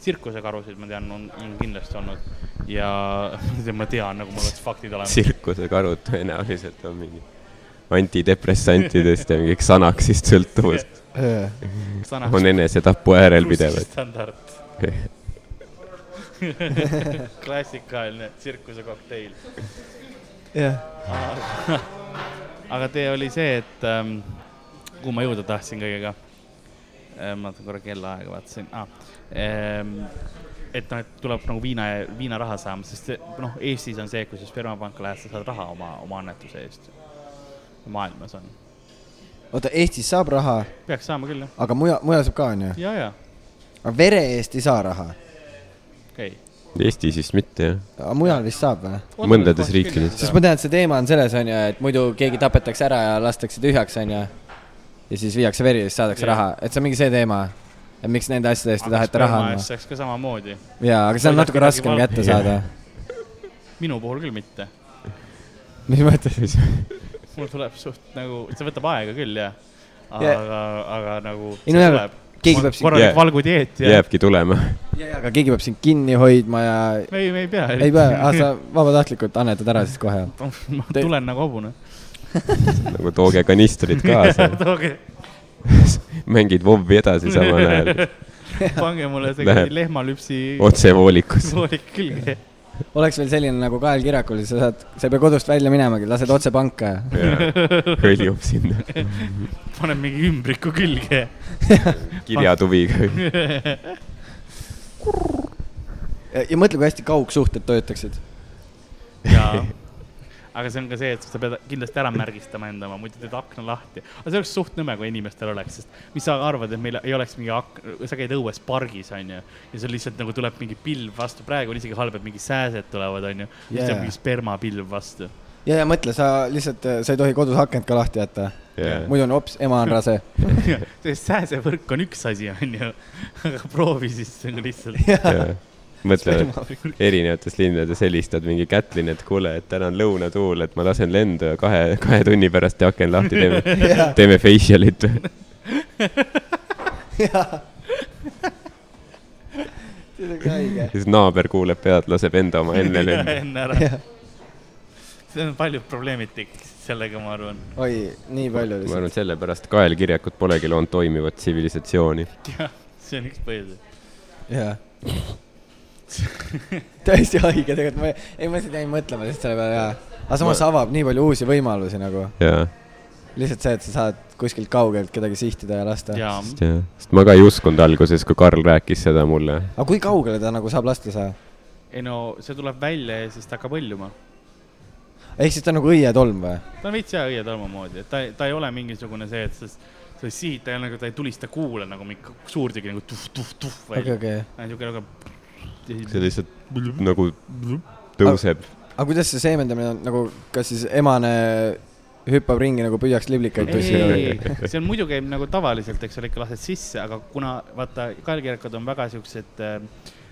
B: tsirkusekarusid ma tean , on, on kindlasti olnud ja ma tean , nagu mul oleks faktid olemas .
D: tsirkusekarud tõenäoliselt on mingi antidepressantidest ja mingi Xanaxist sõltuvus , on enesetapu äärel pidevalt .
B: standard , klassikaline tsirkusekokteil .
C: jah ,
B: aga tee oli see , et ähm, kuhu ma jõuda tahtsin kõigega ähm, . ma vaatan korra kellaaega , vaatasin ah, . Ähm, et noh , et tuleb nagu viina , viinaraha saama , sest see- noh , Eestis on see , kui sa spermapanka lähed , sa saad raha oma , oma annetuse eest . maailmas on .
C: oota , Eestis saab raha ,
B: peaks saama küll jah ,
C: aga mujal , mujal saab ka , onju .
B: ja , ja ,
C: aga vere eest ei saa raha .
B: okei .
D: Eestis vist mitte jah ,
C: aga mujal vist saab või ?
D: Mõndades riikides.
C: sest ma tean , et see teema on selles , onju , et muidu keegi tapetakse ära ja lastakse tühjaks , onju . ja siis viiakse veri ja siis saadakse
B: Jah.
C: raha , et see on mingi see teema . et miks nende asjade eest ei taheta raha anda .
B: saaks ka samamoodi ,
C: jaa , aga see on
B: Hoiad
C: natuke
B: kedagi
C: raskem
B: valve-
C: kätte saada .
B: minu puhul küll mitte .
C: mis mõttes ?
B: mul tuleb suht nagu , see võtab aega küll ja , aga
C: Ja-
B: yeah. , aga nagu .
C: Ei no jaa, keegi peab sind ,
B: korralik
D: Jää-
B: yeah. valgudieet ja yeah.
D: jääbki tulema .
C: aga keegi peab sind kinni hoidma ja
B: ei , me ei pea .
C: ei pea , aa , sa vabatahtlikult annetad ära siis kohe .
B: ma
C: Te-
B: tulen nagu hobune .
D: nagu tooge kanistrid kaasa ,
B: tooge ,
D: mängid vovvi edasi samal ajal ,
B: pange mulle see
D: Läheb.
B: kuradi lehmalüpsi
D: otsevoolikus .
B: voolik külge .
C: oleks veel selline nagu Kael Kirakul , sa saad , sa ei pea kodust välja minemagi , lased otse panka .
D: hõljub sinna
B: paneb mingi ümbriku külge .
D: kirjatuviga .
C: ja ja mõtle , kui hästi kaugsuhted töötaksid .
B: jaa , aga see on ka see , et sa pead kindlasti ära märgistama enda oma , muidu teed akna lahti . aga see oleks suht nõme , kui inimestel oleks , sest mis sa arvad , et meil ei oleks mingi ak- , sa käid õues pargis , onju . ja sul lihtsalt nagu tuleb mingi pilv vastu , praegu on isegi halb , et mingi sääsed tulevad , onju . siis
C: Jaa.
B: tuleb mingi spermapilv vastu .
C: ja , ja mõtle , sa lihtsalt , sa ei tohi kodus akent ka lahti jätta , muidu on hops , ema on rase .
B: see sääsevõrk on üks asi , onju . aga proovi siis nagu lihtsalt .
D: mõtle , erinevates linnades helistad mingi Kätlin , et kuule , et täna on lõunatuul , et ma lasen lendu ja kahe , kahe tunni pärast ja aken lahti teeme , teeme facial'it . siis naaber kuuleb pead , laseb enda oma enne lendu .
B: enne ära . see on paljud probleemid tekkisid sellega , ma arvan .
C: oi , nii palju
D: ma
C: lihtsalt .
D: arvan , et sellepärast kaelkirjakud polegi loonud toimivat tsivilisatsiooni .
B: jah , see on üks põhjus
C: jaa . täiesti haige tegelikult , ma ei , ma lihtsalt jäin mõtlema lihtsalt selle peale ja , aga samas see avab nii palju uusi võimalusi nagu ,
D: jaa ,
C: lihtsalt see , et sa saad kuskilt kaugelt kedagi sihtida ja lasta .
B: ja
D: sest jah , sest ma ka ei uskunud alguses , kui Karl rääkis seda mulle .
C: aga kui kaugele ta nagu saab lasta saa ?
B: ei no see tuleb välja ja siis ta hakkab hõljuma .
C: ehk siis ta on nagu õietolm või ?
B: ta on veits hea õietolmu moodi , et ta , ta ei ole mingisugune see , et sa sa sihid , ta ei ole nagu , ta ei tulista kuule nagu mingi suurtüki nagu tuhh-tuhh-tuhh või
C: okei ,
B: okay.
C: okei .
B: niisugune nagu .
D: see lihtsalt nagu tõuseb .
C: aga kuidas see seemendamine on nagu , kas siis emane hüppab ringi nagu püüaks liblikaid püsti või ?
B: ei , see on muidu käib nagu tavaliselt , eks ole , ikka lased sisse , aga kuna vaata , kalgirakud on väga siuksed ,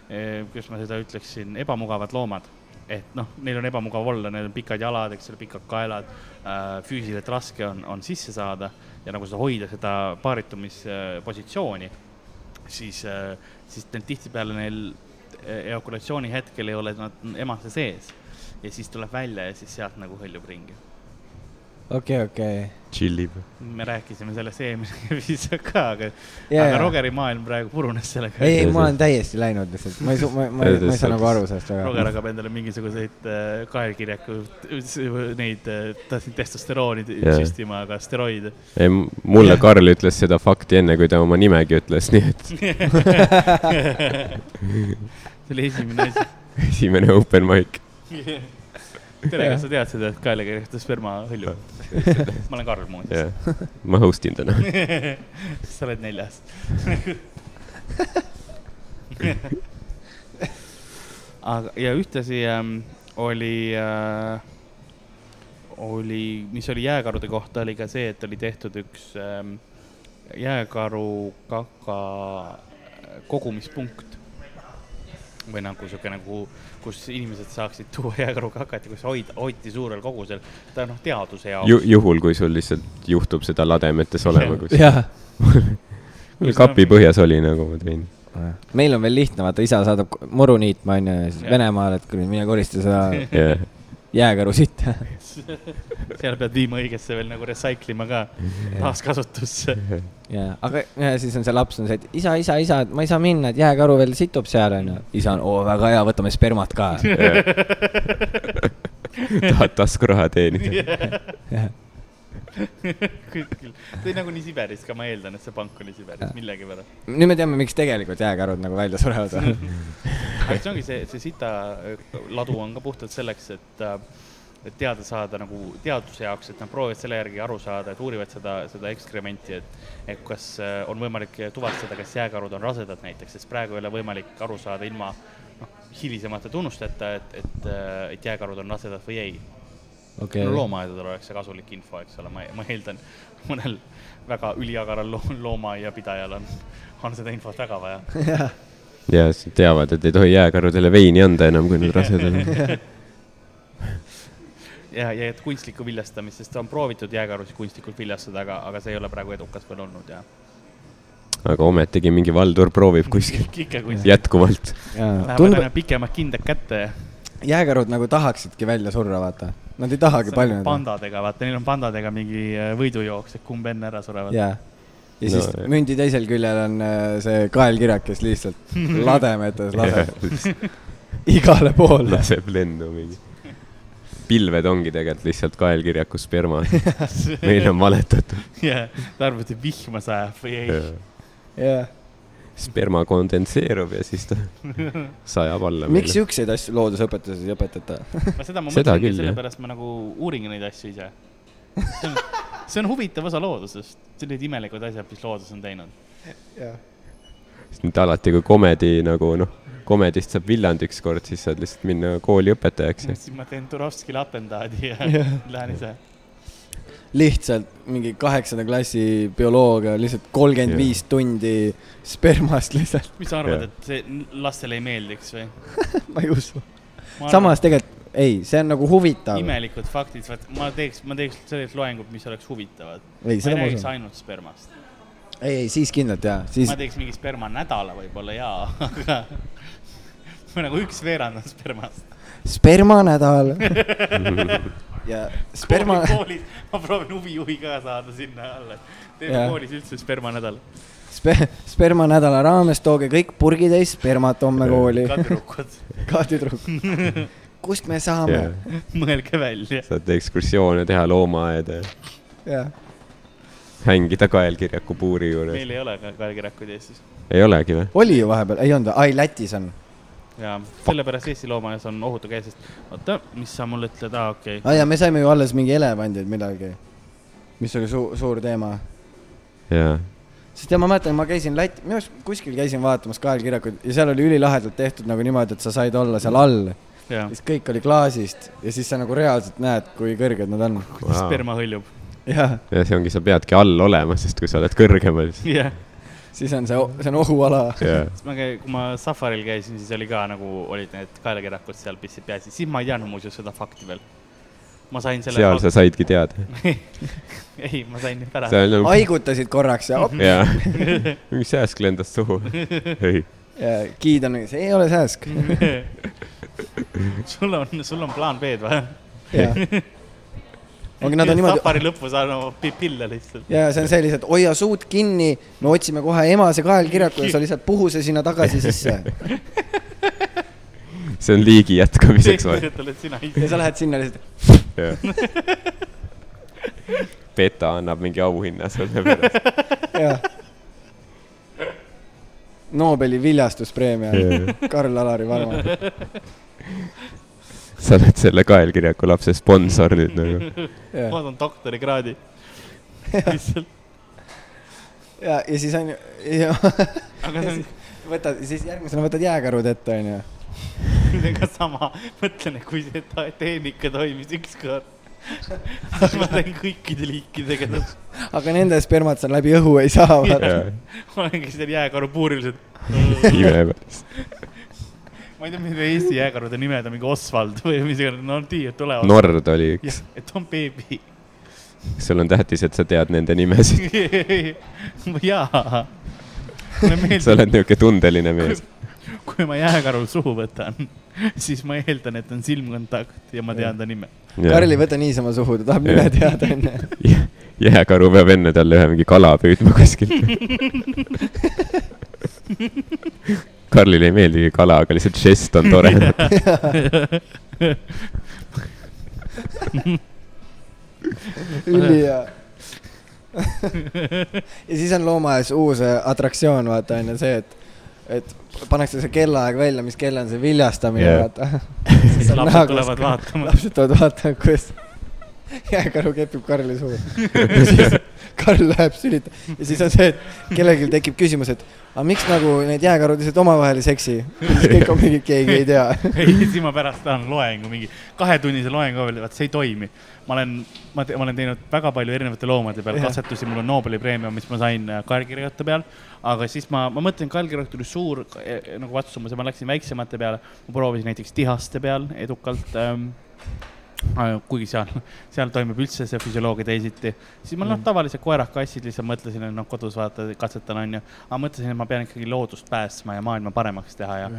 B: kuidas ma seda ütleksin , ebamugavad loomad . et noh , neil on ebamugav olla , neil on pikad jalad , eks ole , pikad kaelad äh, , füüsiliselt raske on , on sisse saada ja nagu seda hoida , seda paaritumispositsiooni , siis äh, , siis neil tihtipeale neil äh, eakulatsiooni hetkel ei ole nad emase sees ja siis tuleb välja ja siis sealt nagu hõljub ringi .
C: okei , okei .
D: tšillib .
B: me rääkisime sellest eelmine episood ka , aga yeah. , aga
C: ei ,
B: Rogeri maailm praegu purunes sellega .
C: ei , ma olen täiesti läinud lihtsalt , ma ei , ma , ma ei , ma ei saa nagu aru sellest
B: Roger
C: väga .
B: jagab endale mingisuguseid äh, kaelkirjaku , neid , tahtsin testosterooni
D: Jaa.
B: yeah. süstima , aga steroide .
D: ei , mulle Karl ütles seda fakti enne , kui ta oma nimegi ütles , nii et
B: see oli esimene asi .
D: esimene open mic .
B: tere , kas sa tead seda , et kaelakirjakuste sperma hõljub ? ma olen Karl muuseas
D: jah , ma host in täna .
B: yeah. . sa oled neljas aga , ja ühtlasi ähm, oli äh, , oli , mis oli jääkarude kohta , oli ka see , et oli tehtud üks ähm, jääkaru kaka äh, kogumispunkt . või nagu sihuke nagu , kus inimesed saaksid tuua jääkaru kakat ja kus hoida , hoiti suurel kogusel . ta noh , teaduse jaoks .
D: Ju- , juhul , kui sul lihtsalt juhtub seda lademetes olema kuskil .
C: jah .
D: mul kapi põhjas oli , nagu ma tõin .
C: meil on veel lihtne , vaata isa saadab k- muru niitma , onju , ja siis
B: Jah.
C: Venemaale , et kuule , mine korista seda
D: jah ,
C: jääkaru sitta .
B: seal pead viima õigesse veel nagu recycle ima ka , taaskasutusse .
C: jaa , aga ja siis on see laps on see , et isa , isa , isa , et ma ei saa minna , et jääkaru veel situb seal , onju . isa on , oo , väga hea , võtame spermat ka .
D: jah . tahad taskuraha teenida ?
B: kuskil , see oli nagunii nagu Siberis ka , ma eeldan , et see pank oli Siberis millegipärast .
C: nüüd me teame , miks tegelikult jääkarud nagu välja surevad või ?
B: aga see ongi see , see sita äh, ladu on ka puhtalt selleks , et äh, et teada saada nagu teaduse jaoks , et nad proovivad selle järgi aru saada , et uurivad seda , seda ekskrementi , et , et kas äh, on võimalik tuvastada , kas jääkarud on rasedad näiteks , sest praegu ei ole võimalik aru saada ilma noh , hilisemate tunnusteta , et , et , et jääkarud on rasedad või ei okay. . no loomaaedadel oleks see kasulik info , eks ole , ma , ma eeldan , mõnel väga üliagaral loo- loomaaiapidajal on , on seda infot väga vaja .
D: ja siis teavad , et ei tohi jääkarudele veini anda enam , kui nad rasedad on .
B: ja , ja et kunstlikku viljastamist , sest on proovitud jääkarusid kunstlikult viljastada , aga , aga see ei ole praegu edukas veel olnud ja
D: aga ometigi mingi Valdur proovib kuskil
B: ikka kui see
D: jätkuvalt .
B: lähevad
C: tundub
B: aina , pikemad kindad kätte
C: jääkarud nagu tahaksidki välja surra , vaata . Nad ei tahagi palju .
B: nagu pandadega , vaata , neil on pandadega mingi äh, võidujooks , et kumb enne ära surevad .
C: jaa . ja
D: No,
C: siis
D: jah.
C: mündi teisel küljel on äh, see kaelkirakes lihtsalt lademetes laseb igale poole .
D: laseb lendu mingi . pilved ongi tegelikult lihtsalt kaelkirjakus sperma . meile on valetatud .
B: jah , ta arvab , et vihma sajab või ei .
C: jaa .
D: sperma kondenseerub ja siis ta sajab alla .
C: miks ? siukseid asju loodusõpetuses ei õpetata ?
B: seda ma
D: Seda
B: mõtlengi ,
D: küll, jah.
B: sellepärast ma nagu uuringi neid asju ise . see on huvitav osa loodusest , sellised imelikud asjad , mis loodus on teinud .
D: nüüd alati , kui komedi nagu noh , komedist saab Viljand ükskord , siis saad lihtsalt minna kooli õpetajaks ja
B: siis ma teen Turovskile atentaadi ja lähen ise .
C: lihtsalt mingi kaheksanda klassi bioloogia , lihtsalt kolmkümmend viis tundi spermast lihtsalt ,
B: mis sa arvad
D: Jah. ,
B: et see n- lastele ei meeldiks või ?
C: ma ei usu . samas tegelikult ei , see on nagu huvitav .
B: imelikud faktid , vaat ma teeks , ma teeks sellised loengud , mis oleks huvitavad .
C: ei ,
B: ma
C: seda
B: ei
C: ma
B: räägiks
C: usun .
B: ainult spermast .
C: ei , ei siis kindlalt jaa , siis
B: ma teeks mingi sperma nädala võib-olla jaa , aga ma nagu üks veerand on spermast .
C: spermanädal ja sperma ,
B: koolis , ma proovin huvijuhi ka saada sinna alla , et teeme
C: Jah.
B: koolis üldse spermanädal .
C: spe, spermanädala raames tooge kõik purgitäis spermat homme kooli .
B: kadrukud ,
C: kaaditrupp . kust me saame ?
B: mõelge välja .
D: saad ekskursioone teha loomaaeda ja
C: jah ,
D: hängida kaelkirjaku puuri juures .
B: meil ei ole ka kaelkirjakuid Eestis .
D: ei olegi või ?
C: oli ju vahepeal , ei olnud , ai Lätis on .
B: ja sellepärast Eesti loomaaias on ohutu käia , sest oota , mis sa mulle ütled , aa okei okay. ,
C: aa ja me saime ju alles mingi elevandid midagi , mis oli suur , suur teema .
D: jaa .
C: sest ja ma mäletan , ma käisin Läti , minu arust kuskil käisin vaatamas kaelkirjakuid ja seal oli ülilahedalt tehtud nagu niimoodi , et sa said olla seal all ,
B: jaa ,
C: siis kõik oli klaasist ja siis sa nagu reaalselt näed , kui kõrged nad on .
B: kuidas sperma hõljub ,
C: jah ,
D: ja see ongi , sa peadki all olema , sest kui sa oled kõrgemal , siis
B: jah .
C: siis on see , see on ohuala .
D: jaa .
B: siis ma käin , kui ma safaril käisin , siis oli ka nagu olid need kaelakirjakud seal pistsid peaasi , siis ma ei teadnud muuseas seda fakti veel . ma sain selle .
D: seal sa saidki teada .
B: ei , ma sain nüüd pärast .
D: seal on ,
C: haigutasid korraks ja op ,
D: jaa , mingi sääsk lendas suhu . ei ,
C: ja giid on , see ei ole sääsk .
B: sul on , sul on plaan B-d või ?
C: ongi , nad on niimoodi
B: safari lõpus annab pi- pille lihtsalt .
C: ja see on see lihtsalt , hoia suud kinni , me otsime kohe emase kaelkirjaku ja sa lihtsalt puhu see sinna tagasi sisse .
D: see on liigi jätkamiseks vaja .
B: teistele , et sina
C: ja
B: ise
C: sa . lähed sinna lihtsalt ,
D: Beta annab mingi auhinna selle pärast .
C: jah . Nobeli viljastuspreemia
D: Jaa. ,
C: Karl-Alari Varma .
D: sa oled selle kaelkirjaku lapse sponsor nüüd nagu .
C: ja ,
B: ma saan doktorikraadi . lihtsalt ,
C: ja , ja siis on ,
B: aga see on
C: võtad , siis järgmisena võtad jääkarud ette , onju .
B: nendega sama , mõtlen , et kui see ta- tehnika toimis ükskord , siis ma teen kõikide liikidega ,
C: aga nende spermat sa läbi õhu ei saa , vaata .
B: olengi seal jääkaru puuriliselt .
D: ime pärast .
B: ma ei tea , mis Eesti jääkarude nimed on , mingi Oswald või mis iganes , no tiiad tulevad .
D: Nord oli
B: jah
D: üks .,
B: et on beebi .
D: sul on tähtis , et sa tead nende nimesid .
B: jaa . mulle
D: sa
B: meeldib ,
D: oled niuke tundeline mees .
B: kui ma jääkarul suhu võtan , siis ma eeldan , et on silmkontakt ja ma tean ta nime .
C: Karl ei võta niisama suhu , ta tahab
D: Jah.
C: nime teada , onju .
D: Jä- jääkaru peab enne talle ühe mingi kala püüdma kuskilt . Karlile ei meeldigi kala , aga lihtsalt žest on tore .
C: ülihea . ja siis on loomaaias uus äh, atraktsioon , vaata on ju see , et et pannakse see kellaaeg välja , mis kell on see viljastamine
D: Jah.
C: yeah. , vaata .
B: siis lapsed tulevad vaatama .
C: lapsed tulevad vaatama , kuidas jääkaru kepib Karli suhu . ja siis Karl läheb sülitama ja siis on see , et kellelgi tekib küsimus , et aga miks nagu need jääkarud lihtsalt omavahel ei seksi . kõik on mingi , keegi ei tea .
B: ei , siis ma pärast tahan loengu , mingi kahetunnise loengu veel , vaat see ei toimi . ma olen , ma , ma olen teinud väga palju erinevate loomade peal
C: Jah.
B: katsetusi , mul on Nobeli preemia , mis ma sain äh, kaelkirjade peal . aga siis ma , ma mõtlen , kaelkirjad tuli suur eh, nagu vatsumus ja ma läksin väiksemate peale . ma proovisin näiteks tihaste peal edukalt ähm, . kuigi seal , seal toimub üldse see füsioloogia teisiti . siis ma noh ,
C: Mm.
B: tavalised koerad , kassid lihtsalt mõtlesin , et noh , kodus vaata , katsetan onju . aga mõtlesin , et ma pean ikkagi loodust päästma ja maailma paremaks teha ja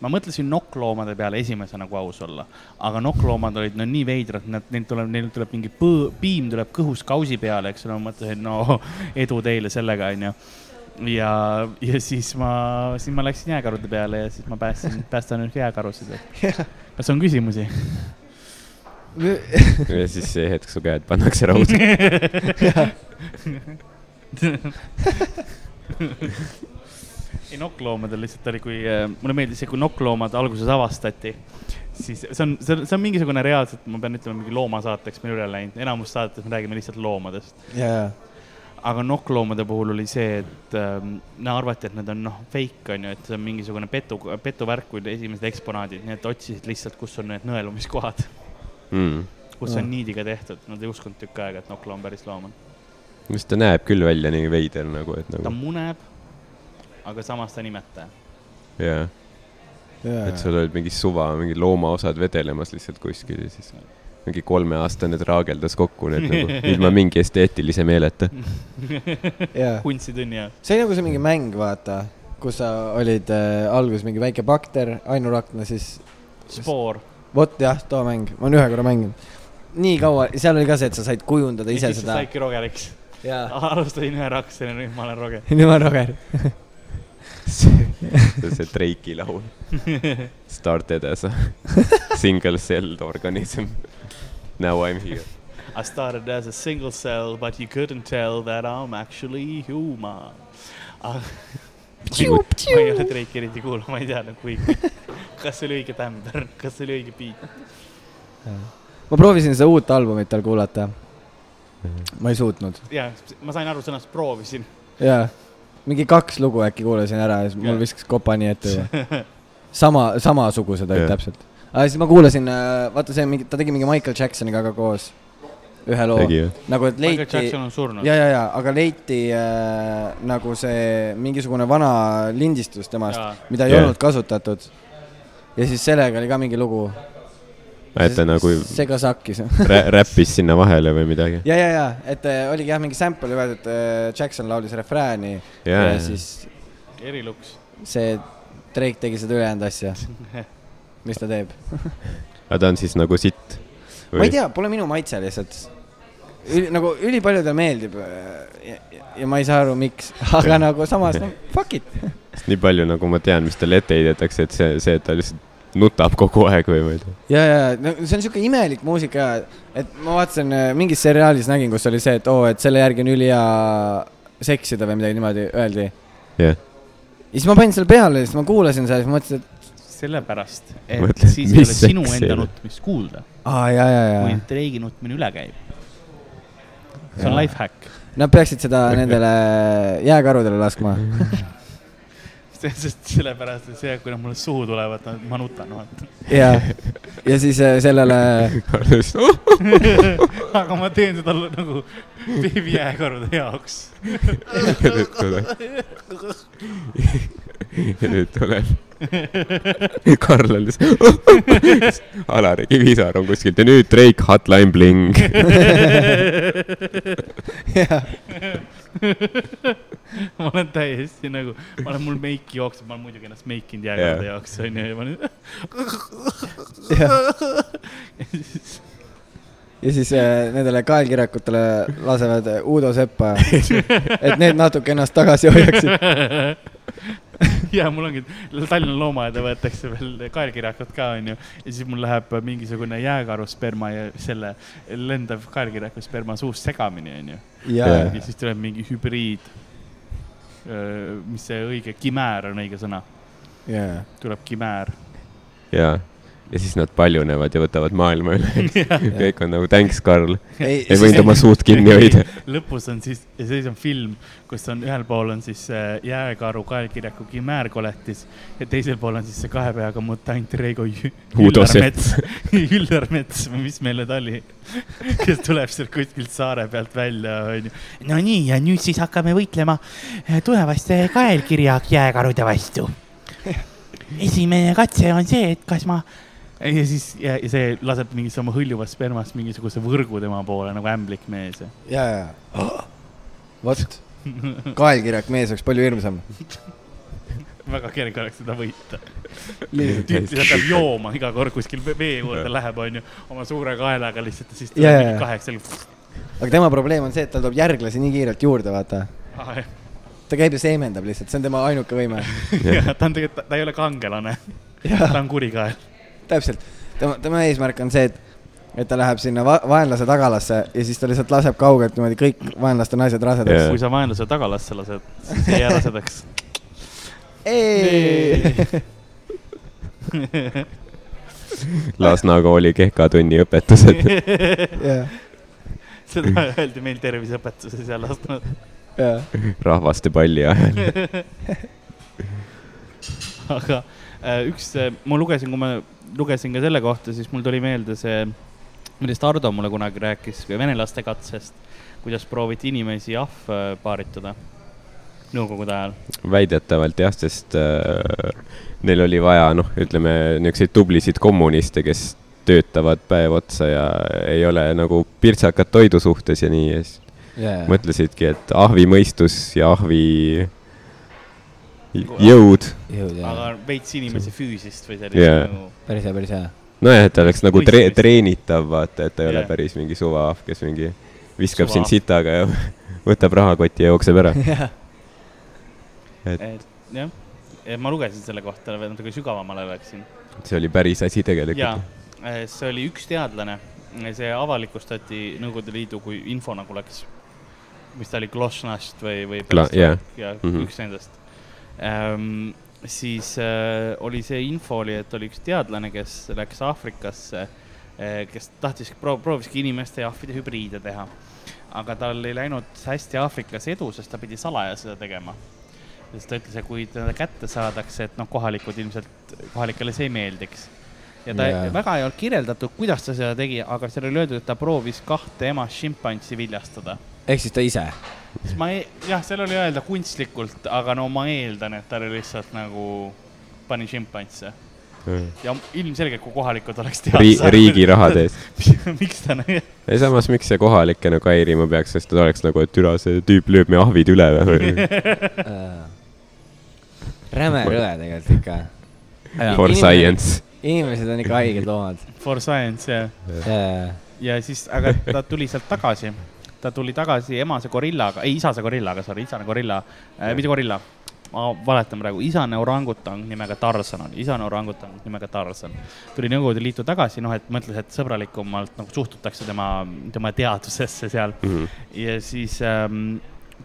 B: ma mõtlesin nokkloomade peale esimesena , kui aus olla , aga nokkloomad olid no nii veidrad , nad , neil tuleb , neil tuleb mingi põõ- piim tuleb kõhus kausi peale , eks ole , ma mõtlesin , no edu teile sellega , onju . ja , ja siis ma , siis ma läksin jääkarude peale ja siis ma päästsin , päästan nüüd jääkarusid . kas on küsimusi ?
D: ja siis see hetk su käed pannakse rauda .
B: ei , nokkloomadel lihtsalt oli , kui äh, mulle meeldis see , kui nokkloomad alguses avastati , siis see on , see on , see on mingisugune reaalselt , ma pean ütlema , mingi loomasaateks meil üle läinud , enamus saadetes me räägime lihtsalt loomadest .
C: jaa ,
B: aga nokkloomade puhul oli see , et ähm, no arvati , et nad on noh , fake on ju , et see on mingisugune petu , petuvärk , kui esimesed eksponaadid , nii et otsisid lihtsalt , kus on need nõelumiskohad , kus on
C: Mm.
B: niidiga tehtud , nad ei uskunud tükk aega , et nokkloom päris loom on .
D: mis ta näeb küll välja nii veider nagu , et
B: ta
D: nagu
B: muneb , aga samas ta ei nimeta .
D: jaa , et
C: jaa .
D: sul olid mingi suva , mingi loomaosad vedelemas lihtsalt kuskil ja siis mingi kolmeaastane traageldas kokku need nagu ilma mingi esteetilise meeleta .
C: jaa .
B: kunstitunni ajal .
C: see oli nagu see mingi mäng , vaata , kus sa olid äh, alguses mingi väike bakter , ainurakna , siis
B: spoor .
C: vot jah , too mäng , ma olen ühe korra mänginud . nii kaua , seal oli ka see , et sa said kujundada ise seda .
B: saidki rogeriks .
C: jaa ,
B: alustasin ühe raksena , nüüd ma olen roger .
C: nüüd ma olen Roger .
D: see on see Drake'i laul . Started as a single celled organism . Now I m here .
B: I started as a single cell , but you couldn't tell that I am actually human . ma ei ole Drake'i eriti kuulnud , ma ei tea nagu kui , kas see oli õige tämber , kas see oli õige beat .
C: ma proovisin seda uut albumit tal kuulata .
D: Mhm.
C: ma ei suutnud .
B: ja ma sain aru sõnast proovisin .
C: jaa , mingi kaks lugu äkki kuulasin ära ja siis mul
B: Jaa.
C: viskas kopani ette juba . sama , samasugused olid
D: Jaa.
C: täpselt . aga siis ma kuulasin , vaata see mingi , ta tegi mingi Michael Jacksoniga ka koos ühe loo .
D: tegi või ?
C: nagu , et
B: Michael
C: leiti
B: Jackson on surnud .
C: ja , ja , ja , aga leiti äh, nagu see mingisugune vana lindistus temast , mida ei
D: Jaa.
C: yeah. olnud kasutatud . ja siis sellega oli ka mingi lugu .
D: et ta nagu
C: see ka sakkis .
D: rä- räppis sinna vahele või midagi ?
C: ja , ja , ja , et äh, oligi jah , mingi sample ühes , et äh, Jackson laulis refrääni yeah.
D: jaa
C: ja , siis
B: eriluks .
C: see Drake tegi seda ülejäänud asja , mis ta teeb .
D: aga ta on siis nagu sitt ?
C: ma ei tea , pole minu maitse lihtsalt . Üli, nagu ülipaljudele meeldib äh, ja, ja- ja ma ei saa aru , miks , aga nagu samas noh , fuck it .
D: nii palju , nagu ma tean , mis talle ette heidetakse , et see , see , et ta lihtsalt nutab kogu aeg või ma ei tea .
C: ja , ja no, see on siuke imelik muusika , et ma vaatasin äh, mingis seriaalis nägin , kus oli see , et oo , et selle järgi on ülihea seksida või midagi niimoodi öeldi .
D: jah ,
C: ja siis ma panin selle peale ja siis ma kuulasin seda ja siis mõtlesin , et
B: sellepärast ,
D: Mõtle,
B: et siis ei
D: mis
B: ole sinu
D: seks ei
B: enda
D: ole.
B: nutmist kuulda ,
C: aa ja , ja ,
B: kui
C: ja .
B: Drake'i nutmine üle käib . see on
C: Jaa.
B: life hack .
C: Nad peaksid seda nendele jääkarudele laskma .
B: See- sest sellepärast , et see , kui nad mulle suhu tulevad , ma nutan , noh, vaata .
C: ja , ja siis äh, sellele ,
D: "Oh!"
B: aga ma teen seda lu- nagu beebijääkarude jaoks .
D: ja nüüd tuleb . ja nüüd tuleb . Karl on lihtsalt Alari Kivisaar on kuskilt ja nüüd Drake Hotline Bling .
B: ma olen täiesti nagu , ma olen , mul meik jookseb , ma olen muidugi ennast meikinud jääkarude
D: Jaa.
B: jaoks , onju , ja ma nüüd .
C: ja siis äh, nendele kaelkirakutele lasevad äh, Uudo Seppa , et need natuke ennast tagasi hoiaksid .
B: ja mul ongi , Tallinna loomaaeda võetakse veel kaelkirjakud ka , onju . ja siis mul läheb mingisugune jääkaru sperma ja selle lendav kaelkirjaku sperma suust segamini , onju .
C: ja ,
B: ja siis tuleb mingi hübriid . mis see õige , kimäär on õige sõna ,
C: jaa .
B: tuleb kimäär .
D: ja , ja siis nad paljunevad ja võtavad maailma üle . kõik on nagu thanks , Karl . ei võinud oma suud kinni hoida .
B: lõpus on siis , ja siis on film , kus on ühel pool on siis see jääkaru kaelkirjaku kimäär koletis ja teisel pool on siis see kahe peaga mutant Reigo Jü-
D: Uudo Sepp.
B: Üllarmets , Üllarmets või mis meil nüüd oli , kes tuleb sealt kuskilt saare pealt välja , onju . Nonii , ja nüüd siis hakkame võitlema äh, tulevaste kaelkirja jääkarude vastu . esimene katse on see , et kas ma ja siis ja, ja see laseb mingisse oma hõljuvast spermast mingisuguse võrgu tema poole nagu ämblik mees ja
C: ja , ja , vot , kaelkirjak mees oleks palju hirmsam .
B: väga kerge oleks seda võita . tüüp lihtsalt peab jooma iga kord kuskil ve- vee juurde läheb , onju , oma suure kaelaga lihtsalt ja siis tuleb
C: Jaa,
B: yeah.
C: jaa.
B: mingi kaheksa liitrit .
C: aga tema probleem on see , et tal tuleb järglasi nii kiirelt juurde , vaata .
B: Ah,
C: ta käib ja seemendab lihtsalt , see on tema ainuke võime .
B: ta on tegelikult , ta ei ole kangelane , ta on kurikael .
C: täpselt , tema , tema eesmärk on see , et , et ta läheb sinna va vaenlase tagalasse ja siis ta lihtsalt laseb kaugelt niimoodi kõik vaenlaste naised
D: Jaa.
C: rasedaks
B: kui sa vaenlase tagalasse lased , siis ei ära sedaks .
C: yeah. .
D: Lasna kooli kehkatunni õpetused .
C: jah ,
B: seda öeldi meil terviseõpetuses ja lasknud .
C: jah .
D: rahvastepalli ajal .
B: aga äh, üks , ma lugesin , kui ma lugesin ka selle kohta , siis mul tuli meelde see , millest Ardo mulle kunagi rääkis , venelaste katsest , kuidas prooviti inimesi ahvpaaritada nõukogude ajal .
D: väidetavalt jah , sest äh, neil oli vaja , noh , ütleme niisuguseid tublisid kommuniste , kes töötavad päev otsa ja ei ole nagu pirtsakad toidu suhtes ja nii ja siis mõtlesidki , et ahvi mõistus ja ahvi jõud .
C: jõud
B: aga veits inimese füüsist või sellist
D: Jaa.
B: yeah. nagu ,
C: päris hea , päris hea .
D: nojah , et ta oleks nagu tre
B: Mõistmist.
D: treenitav , vaata , et ta ei ole
B: Jah.
D: päris mingi suvaahv , kes mingi viskab sind
B: Suvaahv.
D: sitaga ja võtab rahakoti ja jookseb ära .
B: et jah , ma lugesin selle kohta , natuke sügavamale läksin .
D: see oli päris asi
B: ja
D: tegelikult .
B: see oli üks teadlane , see avalikustati Nõukogude Liidu , kui info nagu läks , mis ta oli , Glošnast või , või
D: Kla- , jah ,
B: ja mm -hmm.
D: Mhm.
B: üks nendest ähm, . siis äh, oli see info oli , et oli üks teadlane , kes läks Aafrikasse äh, , kes tahtis proo- , prooviski inimeste ja ahvide hübriide teha . aga tal ei läinud hästi Aafrikas edu , sest ta pidi salaja seda tegema . sest ta ütles , et kui teda kätte saadakse , et noh , kohalikud ilmselt , kohalikele see ei meeldiks ja ta yeah.
C: Jaa.
B: väga ei olnud kirjeldatud , kuidas ta seda tegi , aga seal oli öeldud , et ta proovis kahte emast šimpansi viljastada .
C: ehk siis ta ise .
B: Siis ma ei , jah , seal oli öelda kunstlikult , aga no ma eeldan , et ta oli lihtsalt nagu , pani šimpansse ja ilmselgelt , kui kohalikud oleks teada
D: Ri- , riigi rahade eest .
B: miks ta nagu ,
D: ei samas , miks see kohalikke nagu häirima peaks , sest ta oleks nagu , et türa , see tüüp lööb meie ahvid üle või
C: räme Äh, rõve tegelikult ikka .
D: for science .
C: inimesed on ikka haiged loomad . Äh,
B: for science ja ,
C: jaa ,
B: ja siis , aga ta tuli sealt tagasi . ta tuli tagasi emase gorillaga , ei isase gorillaga , sorry , isane gorilla äh, , mitte gorilla . ma valetan praegu , isane orangutang nimega Tarzan oli , isane orangutang nimega Tarzan . tuli Nõukogude Liitu tagasi , noh , et mõtles , et sõbralikumalt nagu suhtutakse tema , tema teadusesse seal .
D: Mhm.
B: ja siis ähm,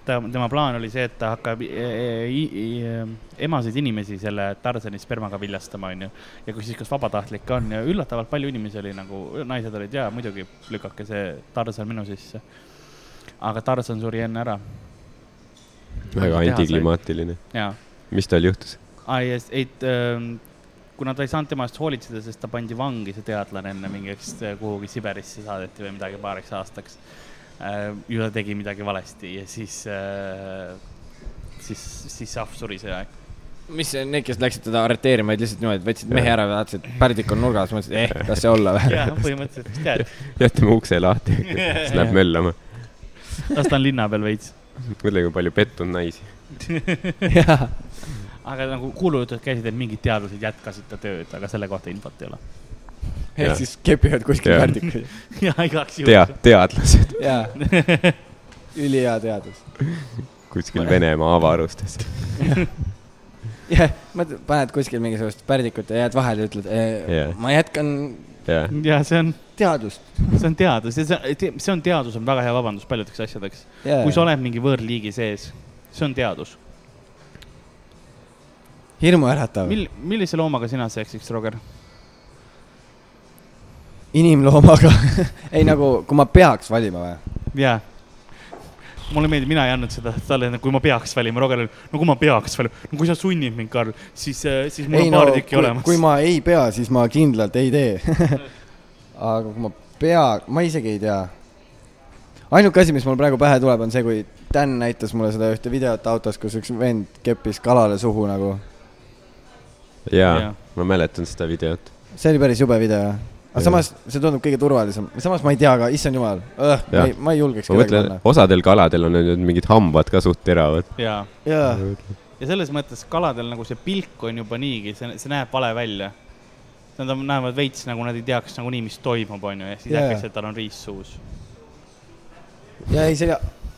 B: ta , tema plaan oli see , et ta hakkab e- e- i- i- emasid inimesi selle Tarzani spermaga viljastama , onju . ja kui siis , kas vabatahtlikke on ja üllatavalt palju inimesi oli nagu , naised olid ja muidugi lükake see Tarzan minu sisse . aga Tarzan suri enne ära
D: väga
B: Teha sai.
D: antiklimaatiline .
B: ja ,
D: mis tal juhtus ?
B: ei , ei , ähm, kuna ta ei saanud tema eest hoolitseda , sest ta pandi vangi , see teadlane enne mingiks äh, kuhugi Siberisse saadeti või midagi paariks aastaks . ju ta tegi midagi valesti ja siis , siis , siis Sahv suri see aeg .
C: mis see- need , kes läksid teda arreteerima , olid lihtsalt niimoodi , et võtsid mehe ära , vaatasid , pärdik on nurgas , mõtlesid , eh , las see olla või ?
B: jah , põhimõtteliselt , mis tead ,
D: jätame ukse lahti , siis läheb möllama .
B: las ta on linna peal veits .
D: mõtle , kui palju pettunud naisi .
B: aga nagu kuulujutud käisid , et mingid teadlased jätkasid ta tööd , aga selle kohta infot ei ole .
C: ehk siis kepivad kuskil
D: Jaa.
C: pärdikuid .
B: ja igaks
D: tea
B: juhuks ,.
D: teadlased
C: jaa , ülihea teadus .
D: kuskil Venemaa avarustes .
C: jah , mõtled , paned kuskil mingisugust pärdikut ja jääd vahele ja ütled
D: Jaa.
C: eh, , ma jätkan
D: jah ,
B: ja see on ,
C: teadust .
B: see on teadus ja see , see on teadus , on väga hea vabandus paljudeks asjadeks . kui sa oled mingi võõrliigi sees , see on teadus .
C: hirmuäratav .
B: mil- , millise loomaga sina seksiks , Roger ?
C: inimloomaga . ei nagu , kui ma peaks valima või ?
B: jaa . mulle meeldib , mina ei andnud seda talle , kui ma peaks valima , Roger , no kui ma peaks valima , no kui sa sunnid mind , Karl , siis , siis mul
C: ei
B: on paar tükki
C: kui,
B: olemas .
C: kui ma ei pea , siis ma kindlalt ei tee . aga kui ma pea , ma isegi ei tea . ainuke asi , mis mul praegu pähe tuleb , on see , kui Dan näitas mulle seda ühte videot autos , kus üks vend keppis kalale suhu nagu .
D: jaa , ma mäletan seda videot .
C: see oli päris jube video . aga
D: Jaa.
C: samas see tundub kõige turvalisem , samas ma ei tea ka , issand jumal , ma
D: Jah.
C: ei , ma ei julgeks
D: ma
C: kedagi
D: mõtlen
C: panna ,.
D: osadel kaladel on nüüd mingid hambad ka suht teravad .
B: jaa ,
C: jaa ,
B: ja selles mõttes kaladel nagu see pilk on juba niigi , see , see näeb vale välja . Nad on, näevad veits nagu nad ei teaks nagunii , mis toimub , onju , ja siis
C: Jaa.
B: äkki see , et tal on riist suus .
C: ja ei , see ,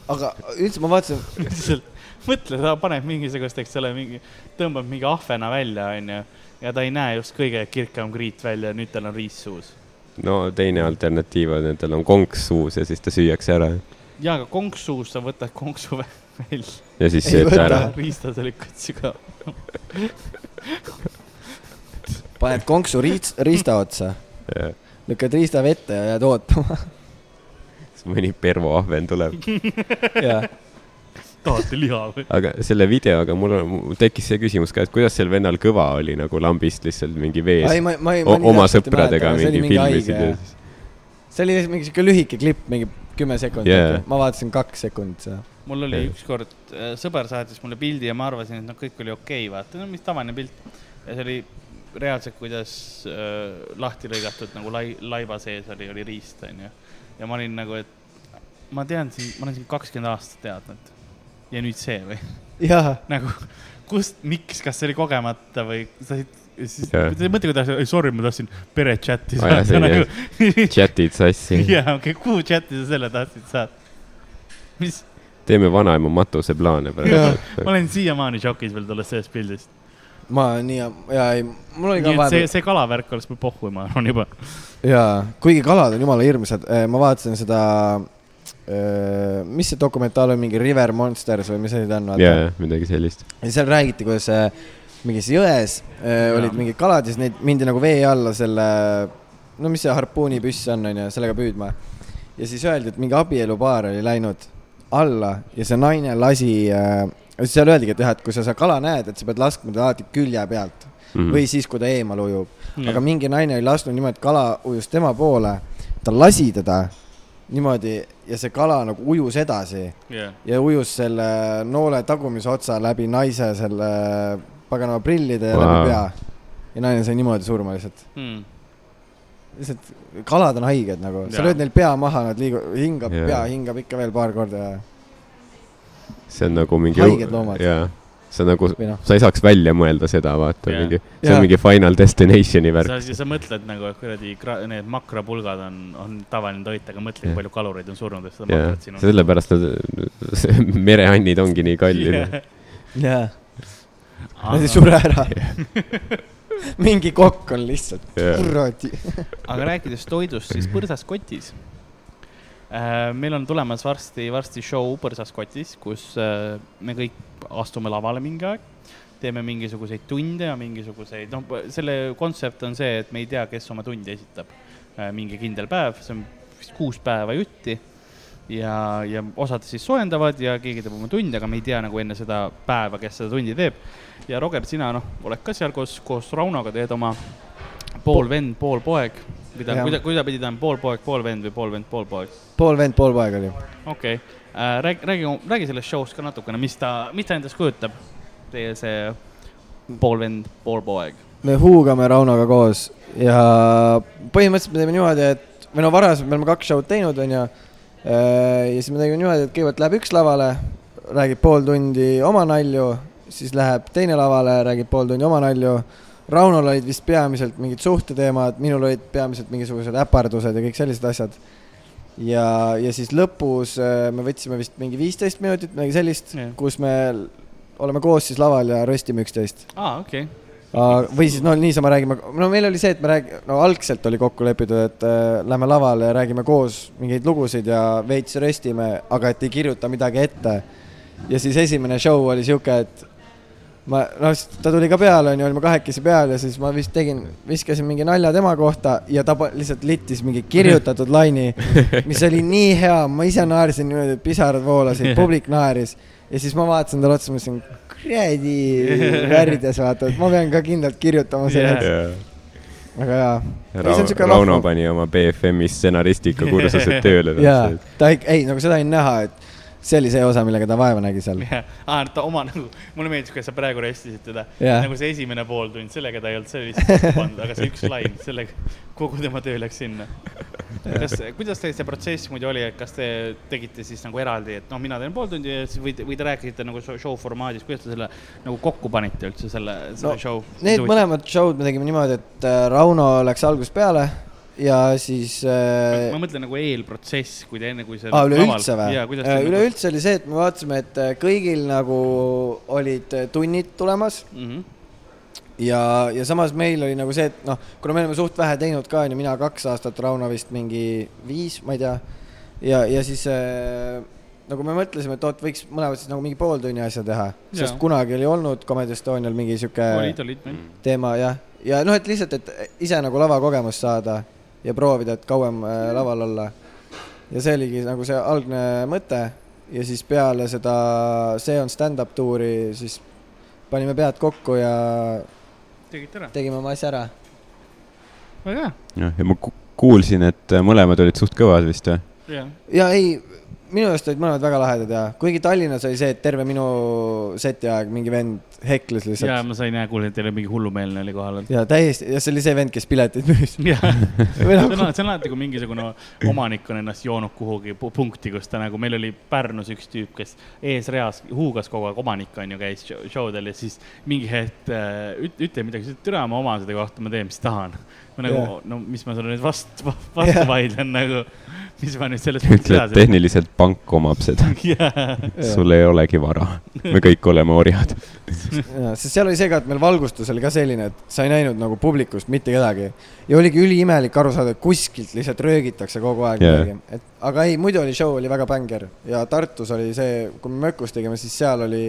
C: aga üldse ma vaatasin ,
B: lihtsalt mõtle , ta paneb mingisugust , eks ole , mingi , tõmbab mingi ahvena välja , onju , ja ta ei näe just kõige kirgem kriit välja , nüüd tal on riist suus .
D: no teine alternatiiv on , et tal on konks suus ja siis ta süüakse ära
B: jaa , aga konks suus , sa võtad konksu vä- välja ,
D: ja siis
C: Ei
D: sööd ta
C: võta.
D: ära .
B: riista sa lükkad sügavale .
C: paned konksu riist- , riista otsa , lükkad riista vette ja jääd ootama .
D: siis mõni pervo ahven tuleb .
C: jaa ,
B: tahate liha või ?
D: aga selle videoga mul on , mul tekkis see küsimus ka , et kuidas sel vennal kõva oli nagu lambist lihtsalt mingi
C: ei
D: vees
C: ma , ma ei , ma
D: o-
C: nii
D: oma
C: täpselt ei
D: sõpradega
C: mäleta, aga see oli
D: mingi filmisid ja
C: haige-
D: siis .
C: see oli lihtsalt mingi siuke lühike klipp , mingi kümme sekundit
D: Jaa.
C: yeah. , ma vaatasin kaks sekundit seda .
B: mul oli
D: Jah.
B: ükskord , sõber saatis mulle pildi ja ma arvasin , et noh , kõik oli okei okay, , vaata , no mis tavaline pilt . ja see oli reaalselt , kuidas äh, lahti lõigatud nagu lai- , laiba sees oli , oli riist , onju . ja ma olin nagu , et ma tean siin , ma olen siin kakskümmend aastat teadnud . ja nüüd see või ?
C: jaa ,
B: nagu , kust , miks , kas see oli kogemata või sa ei , siis
D: Jah.
B: mõtle , kui ta , sorry , ma tahtsin pere chati
D: Aa, jah, see
B: saada
D: oli, jah.
B: nagu .
D: chatid sassi .
B: jaa , okei , kuhu chati sa selle tahtsid saada ? mis ,
D: teeme vanaema matuseplaane
C: Jaa.
D: praegu
B: ma . olen siiamaani šokis veel sellest sellest pildist .
C: ma nii , jaa ei , mul oli ka
B: nii et see ,
C: vahepeal ,
B: see kalavärk oleks mul pohhu , ma arvan juba .
C: jaa , kuigi kalad on jumala hirmsad , ma vaatasin seda , mis see dokumentaal on , mingi River Monsters või mis asi ta on , vaata
D: ja , ja midagi sellist .
C: ja seal räägiti , kuidas äh, mingis jões äh, olid mingid kalad ja siis neid mindi nagu vee alla selle , no mis see harpuunipüss on , onju , sellega püüdma . ja siis öeldi , et mingi abielupaar oli läinud alla ja see naine lasi äh, , seal öeldigi , et jah , et kui sa seda kala näed , et sa pead laskma ta alati külje pealt
B: Mhm.
C: mm. või siis , kui ta eemal ujub . aga mingi naine oli lasknud niimoodi , et kala ujus tema poole , ta lasi teda niimoodi ja see kala nagu ujus edasi
B: yeah.
C: ja ujus selle noole tagumise otsa läbi naise selle paganama prillide ja wow.
D: Vau.
C: läbi pea . ja naine sai niimoodi surma lihtsalt .
B: hmm. .
C: lihtsalt kalad on haiged nagu , sa
B: Jaa.
C: lööd neil pea maha , nad liiguvad , hingab
D: Jaa.
C: yeah. pea , hingab ikka veel paar korda ja ,
D: see on nagu mingi .
C: Haiged loomad.
D: jaa , see on nagu ,
C: või noh ,
D: sa ei saaks välja mõelda seda , vaata
B: Jaa.
D: mingi , see on
C: Jaa.
D: mingi Final Destination'i värk .
B: sa , sa mõtled nagu , et kuradi kra- need makrapulgad on , on tavaline toit , aga mõtle
D: Jah.
B: yeah. , palju kalureid on surnud , et seda
D: jaa
B: makrat , siin on .
D: sellepärast nad , mereannid ongi nii kallid yeah. .
C: jaa , nad
B: aga,
C: ei sure ära . mingi kokk on lihtsalt ,
D: Jaa.
C: kuradi .
B: aga rääkides toidust , siis põrsas kotis . Äh, meil on tulemas varsti , varsti show Põrsas kotis , kus äh, me kõik astume lavale mingi aeg teeme mingisuguseid tunde ja mingisuguseid , noh , selle kontsept on see , et me ei tea , kes oma tundi esitab . mingi kindel päev , see on vist kuus päeva jutti ja , ja osad siis soojendavad ja keegi teeb oma tunde , aga me ei tea nagu enne seda päeva , kes seda tundi teeb . ja Roger , sina noh , oled ka seal koos , koos Raunoga teed oma pool vend , pool poeg , mida
C: Jah. ,
B: kuida- , kuidapidi ta on , pool poeg , pool vend või pool vend , pool poeg ?
C: pool vend , pool poeg oli .
B: okei okay. , räägi , räägi , räägi sellest show'st ka natukene , mis ta , mis ta endast kujutab , teie see pool vend , pool poeg .
C: me huugame Raunoga koos ja põhimõtteliselt me teeme niimoodi , et või no varasemalt me oleme kaks show'd teinud , onju . ja siis me tegime niimoodi , et kõigepealt läheb üks lavale , räägib pool tundi oma nalju , siis läheb teine lavale , räägib pool tundi oma nalju . Raunol olid vist peamiselt mingid suhteteemad , minul olid peamiselt mingisugused äpardused ja kõik sellised asjad . ja , ja siis lõpus äh, me võtsime vist mingi viisteist minutit , midagi sellist
B: Jah.
C: yeah. , kus me oleme koos siis laval ja röstime üksteist .
B: aa , okei okay. ,
C: Aga- või siis no niisama räägime , no meil oli see , et me räägi- , no algselt oli kokku lepitud , et äh, lähme lavale ja räägime koos mingeid lugusid ja veits röstime , aga et ei kirjuta midagi ette . ja siis esimene show oli sihuke , et ma , noh , ta tuli ka peale , onju , olime kahekesi peal ja siis ma vist tegin , viskasin mingi nalja tema kohta ja ta pa- lihtsalt littis mingi kirjutatud laine , mis oli nii hea , ma ise naersin niimoodi , et pisarad voolasid , publik naeris ja siis ma vaatasin talle otsa , mõtlesin , kuradi värvides vaata , et ma pean ka kindlalt kirjutama selle yeah. , aga jaa .
D: Rauno . pani oma BFM-i stsenaristika kursuse tööle .
C: jaa , ta ei , ei nagu seda ei näha , et see oli see osa , millega ta vaeva nägi seal .
B: jah , aa , ta oma nagu , mulle meeldis , kuidas sa praegu restisid teda
C: Jah.
B: yeah. . nagu see esimene pooltund , sellega ta ei olnud , see oli lihtsalt pandud , aga see üks lain , sellega kogu tema töö läks sinna . kas , kuidas teil see protsess muidu oli , et kas te tegite siis nagu eraldi , et noh , mina teen pool tundi ja siis või , või te rääkisite nagu show- show formaadis , kuidas te selle nagu kokku panite üldse selle , selle
C: No,
B: no, show ?
C: Need mõlemad show'd me tegime niimoodi , et äh, Rauno läks algusest peale ja siis äh,
B: ma mõtlen nagu eelprotsess , kui te enne , kui see .
C: aa , üleüldse või Äh,
B: jaa ,? kuidas nagu- te .
C: üleüldse oli see , et me vaatasime , et äh, kõigil nagu olid äh, tunnid tulemas
B: mm .
C: ja , ja samas meil oli nagu see , et noh , kuna me oleme suht vähe teinud ka , onju , mina kaks aastat , Rauno vist mingi viis , ma ei tea . ja , ja siis äh, nagu me mõtlesime , et oot , võiks mõlemad siis nagu mingi pooltunni asja teha , sest
B: Jaa.
C: kunagi oli olnud Comedy Estonial mingi sihuke
B: -hmm. olid , olid meil .
C: teema jah , ja noh , et lihtsalt , et ise nagu lavakogemust saada ja proovida , et kauem äh, laval olla . ja see oligi nagu see algne mõte ja siis peale seda See on stand-up tuuri , siis panime pead kokku ja
B: tegite ära ,
C: tegime oma asja ära .
B: väga hea .
D: jah , ja ma ku- kuulsin , et äh, mõlemad olid suht kõvad vist või ?
B: jah ,
C: ja ei , minu arust olid mõlemad väga lahedad ja kuigi Tallinnas oli see , et terve minu seti aeg mingi vend hekles
B: ja
C: lihtsalt
B: ma sain , kuulsin , et teil oli mingi hullumeelne oli kohal .
C: ja täiesti , ja see oli see vend , kes piletid müüs .
B: jah , see on
C: või nagu ,
B: alati- see on alati , kui mingisugune omanik on ennast joonud kuhugi pu- punkti , kus ta nagu , meil oli Pärnus üks tüüp , kes eesreas huugas kogu aeg , omanik on ju , käis show- showdel ja siis mingi hetk äh, üt- , ütle midagi , türa ma oma seda kohta , ma teen , mis tahan . ma nagu
C: Jah.
B: yeah. , no mis ma sulle nüüd vastu , vastu
C: Jah.
B: yeah. vaidlen nagu , mis ma nüüd selles
D: ütle , et tehniliselt pank omab seda ,
B: jaa ,
D: sul ei olegi vara . me kõik oleme orjad .
C: jaa , sest seal oli see ka , et meil valgustus oli ka selline , et sa ei näinud nagu publikust mitte kedagi . ja oligi üliimelik aru saada , et kuskilt lihtsalt röögitakse kogu aeg
D: Jaa.
C: midagi , et aga ei , muidu oli show oli väga bänger ja Tartus oli see , kui me Mökus tegime , siis seal oli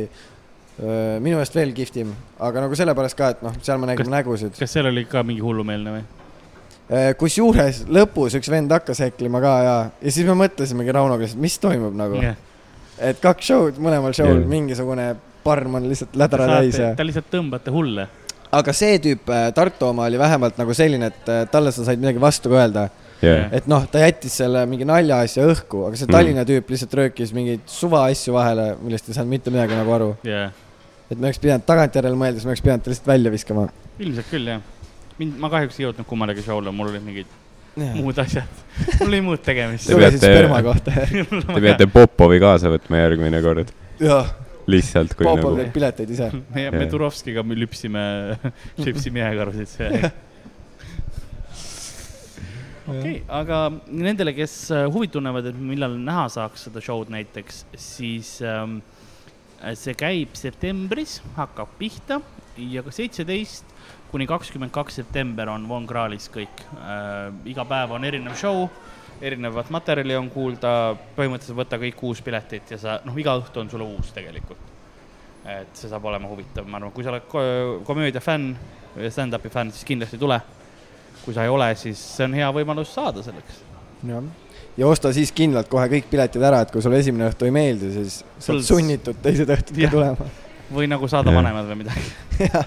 C: öö, minu meelest veel kihvtim , aga nagu sellepärast ka , et noh , seal me nägime nägusid .
B: kas seal oli ka mingi hullumeelne või ?
C: kusjuures lõpus üks vend hakkas heklima ka ja , ja siis me mõtlesimegi Raunoga , et mis toimub nagu ,
B: jah ,
C: et kaks show'd , mõlemal show'l
D: Jaa.
C: mingisugune parm on lihtsalt lädra täis ja
B: te lihtsalt tõmbate hulle .
C: aga see tüüp , Tartu oma oli vähemalt nagu selline , et äh, talle sa said midagi vastu ka öelda .
D: jah ,
C: et noh , ta jättis selle mingi naljaasja õhku , aga see
D: Mm.
C: Tallinna tüüp lihtsalt röökis mingeid suva asju vahele , millest ei saanud mitte midagi nagu aru .
B: jah ,
C: et me oleks pidanud tagantjärele mõeldes , me oleks pidanud ta lihtsalt välja viskama .
B: ilmselt küll jah . mind , ma kahjuks ei jõudnud kummalegi show'le , mul olid mingid muud asjad , mul oli muud tegemist
D: Te .
C: lugesid
D: peate-
C: sperma kohta .
D: te peate Popovi kaasa võtma järgmine kord ,
C: jah ,
D: lihtsalt kui
C: Popov
D: nagu
C: teeb pileteid ise .
B: me , me Turovskiga me lüpsime , lüpsime jääkarusid see aeg . okei , aga nendele , kes äh, huvi tunnevad , et millal näha saaks seda show'd näiteks , siis ähm, see käib septembris , hakkab pihta ja ka seitseteist kuni kakskümmend kaks september on Von Krahlis kõik . iga päev on erinev show , erinevat materjali on kuulda , põhimõtteliselt võta kõik kuus piletit ja sa , noh , iga õhtu on sulle uus tegelikult . et see saab olema huvitav , ma arvan , kui sa oled ko- komöödia fänn , stand-up'i fänn , siis kindlasti tule . kui sa ei ole , siis see on hea võimalus saada selleks .
C: ja osta siis kindlalt kohe kõik piletid ära , et kui sulle esimene õhtu ei meeldi , siis sa oled
B: Sul-
C: sunnitud teised õhtud ka
B: Jah.
C: tulema .
B: või nagu saada
D: Jah.
B: vanemad või midagi .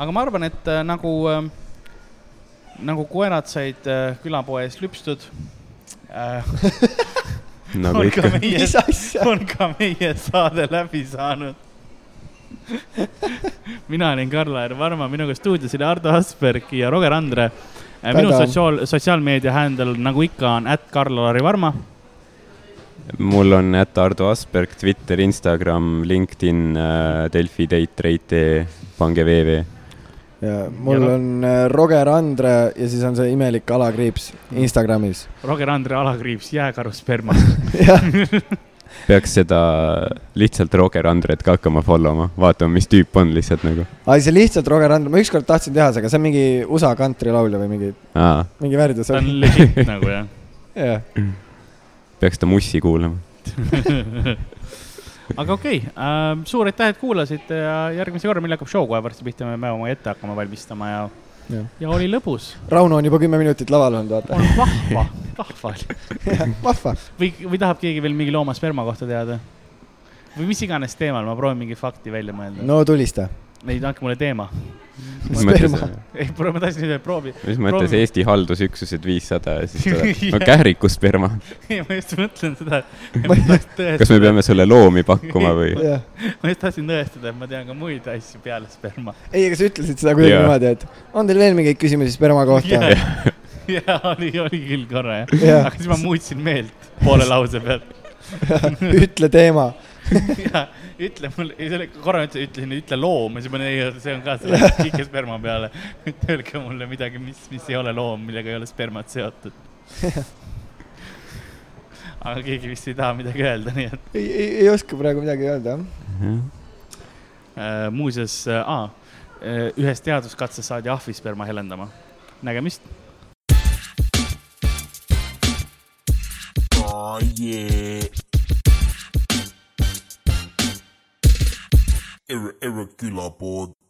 B: aga ma arvan , et äh, nagu äh, , nagu koerad said äh, külapoe ees lüpstud äh, ,
D: nagu
B: on ka
D: ikka .
B: meie ,
C: mis asja ?
B: on ka meie saade läbi saanud . mina olin Karl-Aar Varma , minuga stuudios oli Ardo Asperg ja Roger Andre . minu
C: Tada.
B: sotsiaal , sotsiaalmeedia handle nagu ikka on at Karl-Aari Varma .
D: mul on ätt Ardo Asperg , Twitter , Instagram , LinkedIn , Delfi , Date , pange VV .
C: ja mul
B: Ja-
C: on äh, Roger Andre ja siis on see imelik alakriips Instagramis .
B: Roger Andre alakriips jääkarusperma .
D: peaks seda lihtsalt Roger Andret ka hakkama follow ma , vaatama , mis tüüp on lihtsalt nagu .
C: ai , see lihtsalt Roger Andre , ma ükskord tahtsin teha seda , see on mingi USA kantrilaulja või mingi ,
D: aa ,
C: mingi värdjas
B: ta on legit nagu jah .
C: jah .
D: peaks ta Mussi kuulama .
B: aga okei okay, , suur aitäh , et kuulasite ja järgmise korra , millal hakkab show kohe varsti pihta , me peame oma ette hakkama valmistama ja ,
C: Jah.
B: ja oli lõbus ,
C: Rauno on juba kümme minutit laval olnud ,
B: on vahva , vahva oli .
C: vaata . vahva .
B: või , või tahab keegi veel mingi looma sperma kohta teada ? või mis iganes teemal , ma proovin mingi fakti välja mõelda no. .
C: no tulista .
B: ei , andke mulle teema .
D: mis mõttes ,
B: ei , ma tahtsin öelda , proovi .
D: mis mõttes
B: Proovi-
D: Eesti haldusüksused viissada ja siis tuleb , no
B: Jah.
D: kährikusperma .
B: ma just mõtlen seda .
C: Ma-
D: kas me peame sulle loomi pakkuma või ?
C: jah .
B: ma just tahtsin tõestada , et ma tean ka muid asju peale sperma .
C: ei , aga sa ütlesid seda kuidagi
D: Jaa.
C: niimoodi , et on teil veel mingeid küsimusi sperma kohta ?
B: ja oli , oli küll korra jah
C: Jah.
B: aga siis ma muutsin meelt poole lause pealt
C: ütle teema .
B: ja ütle mulle , ei selle korra ütlesin , ütlesin , ütle loom ja siis ma ei , see on ka selle kike sperma peale . Öelge mulle midagi , mis , mis ei ole loom , millega ei ole spermat seotud . aga keegi vist ei taha midagi öelda , nii et
C: ei , ei , ei oska praegu midagi öelda , jah .
B: äh, muuseas äh, , äh, ühes teaduskatses saadi ahvisperma helendama . nägemist .
A: Oh yeah. Ir- irregular board.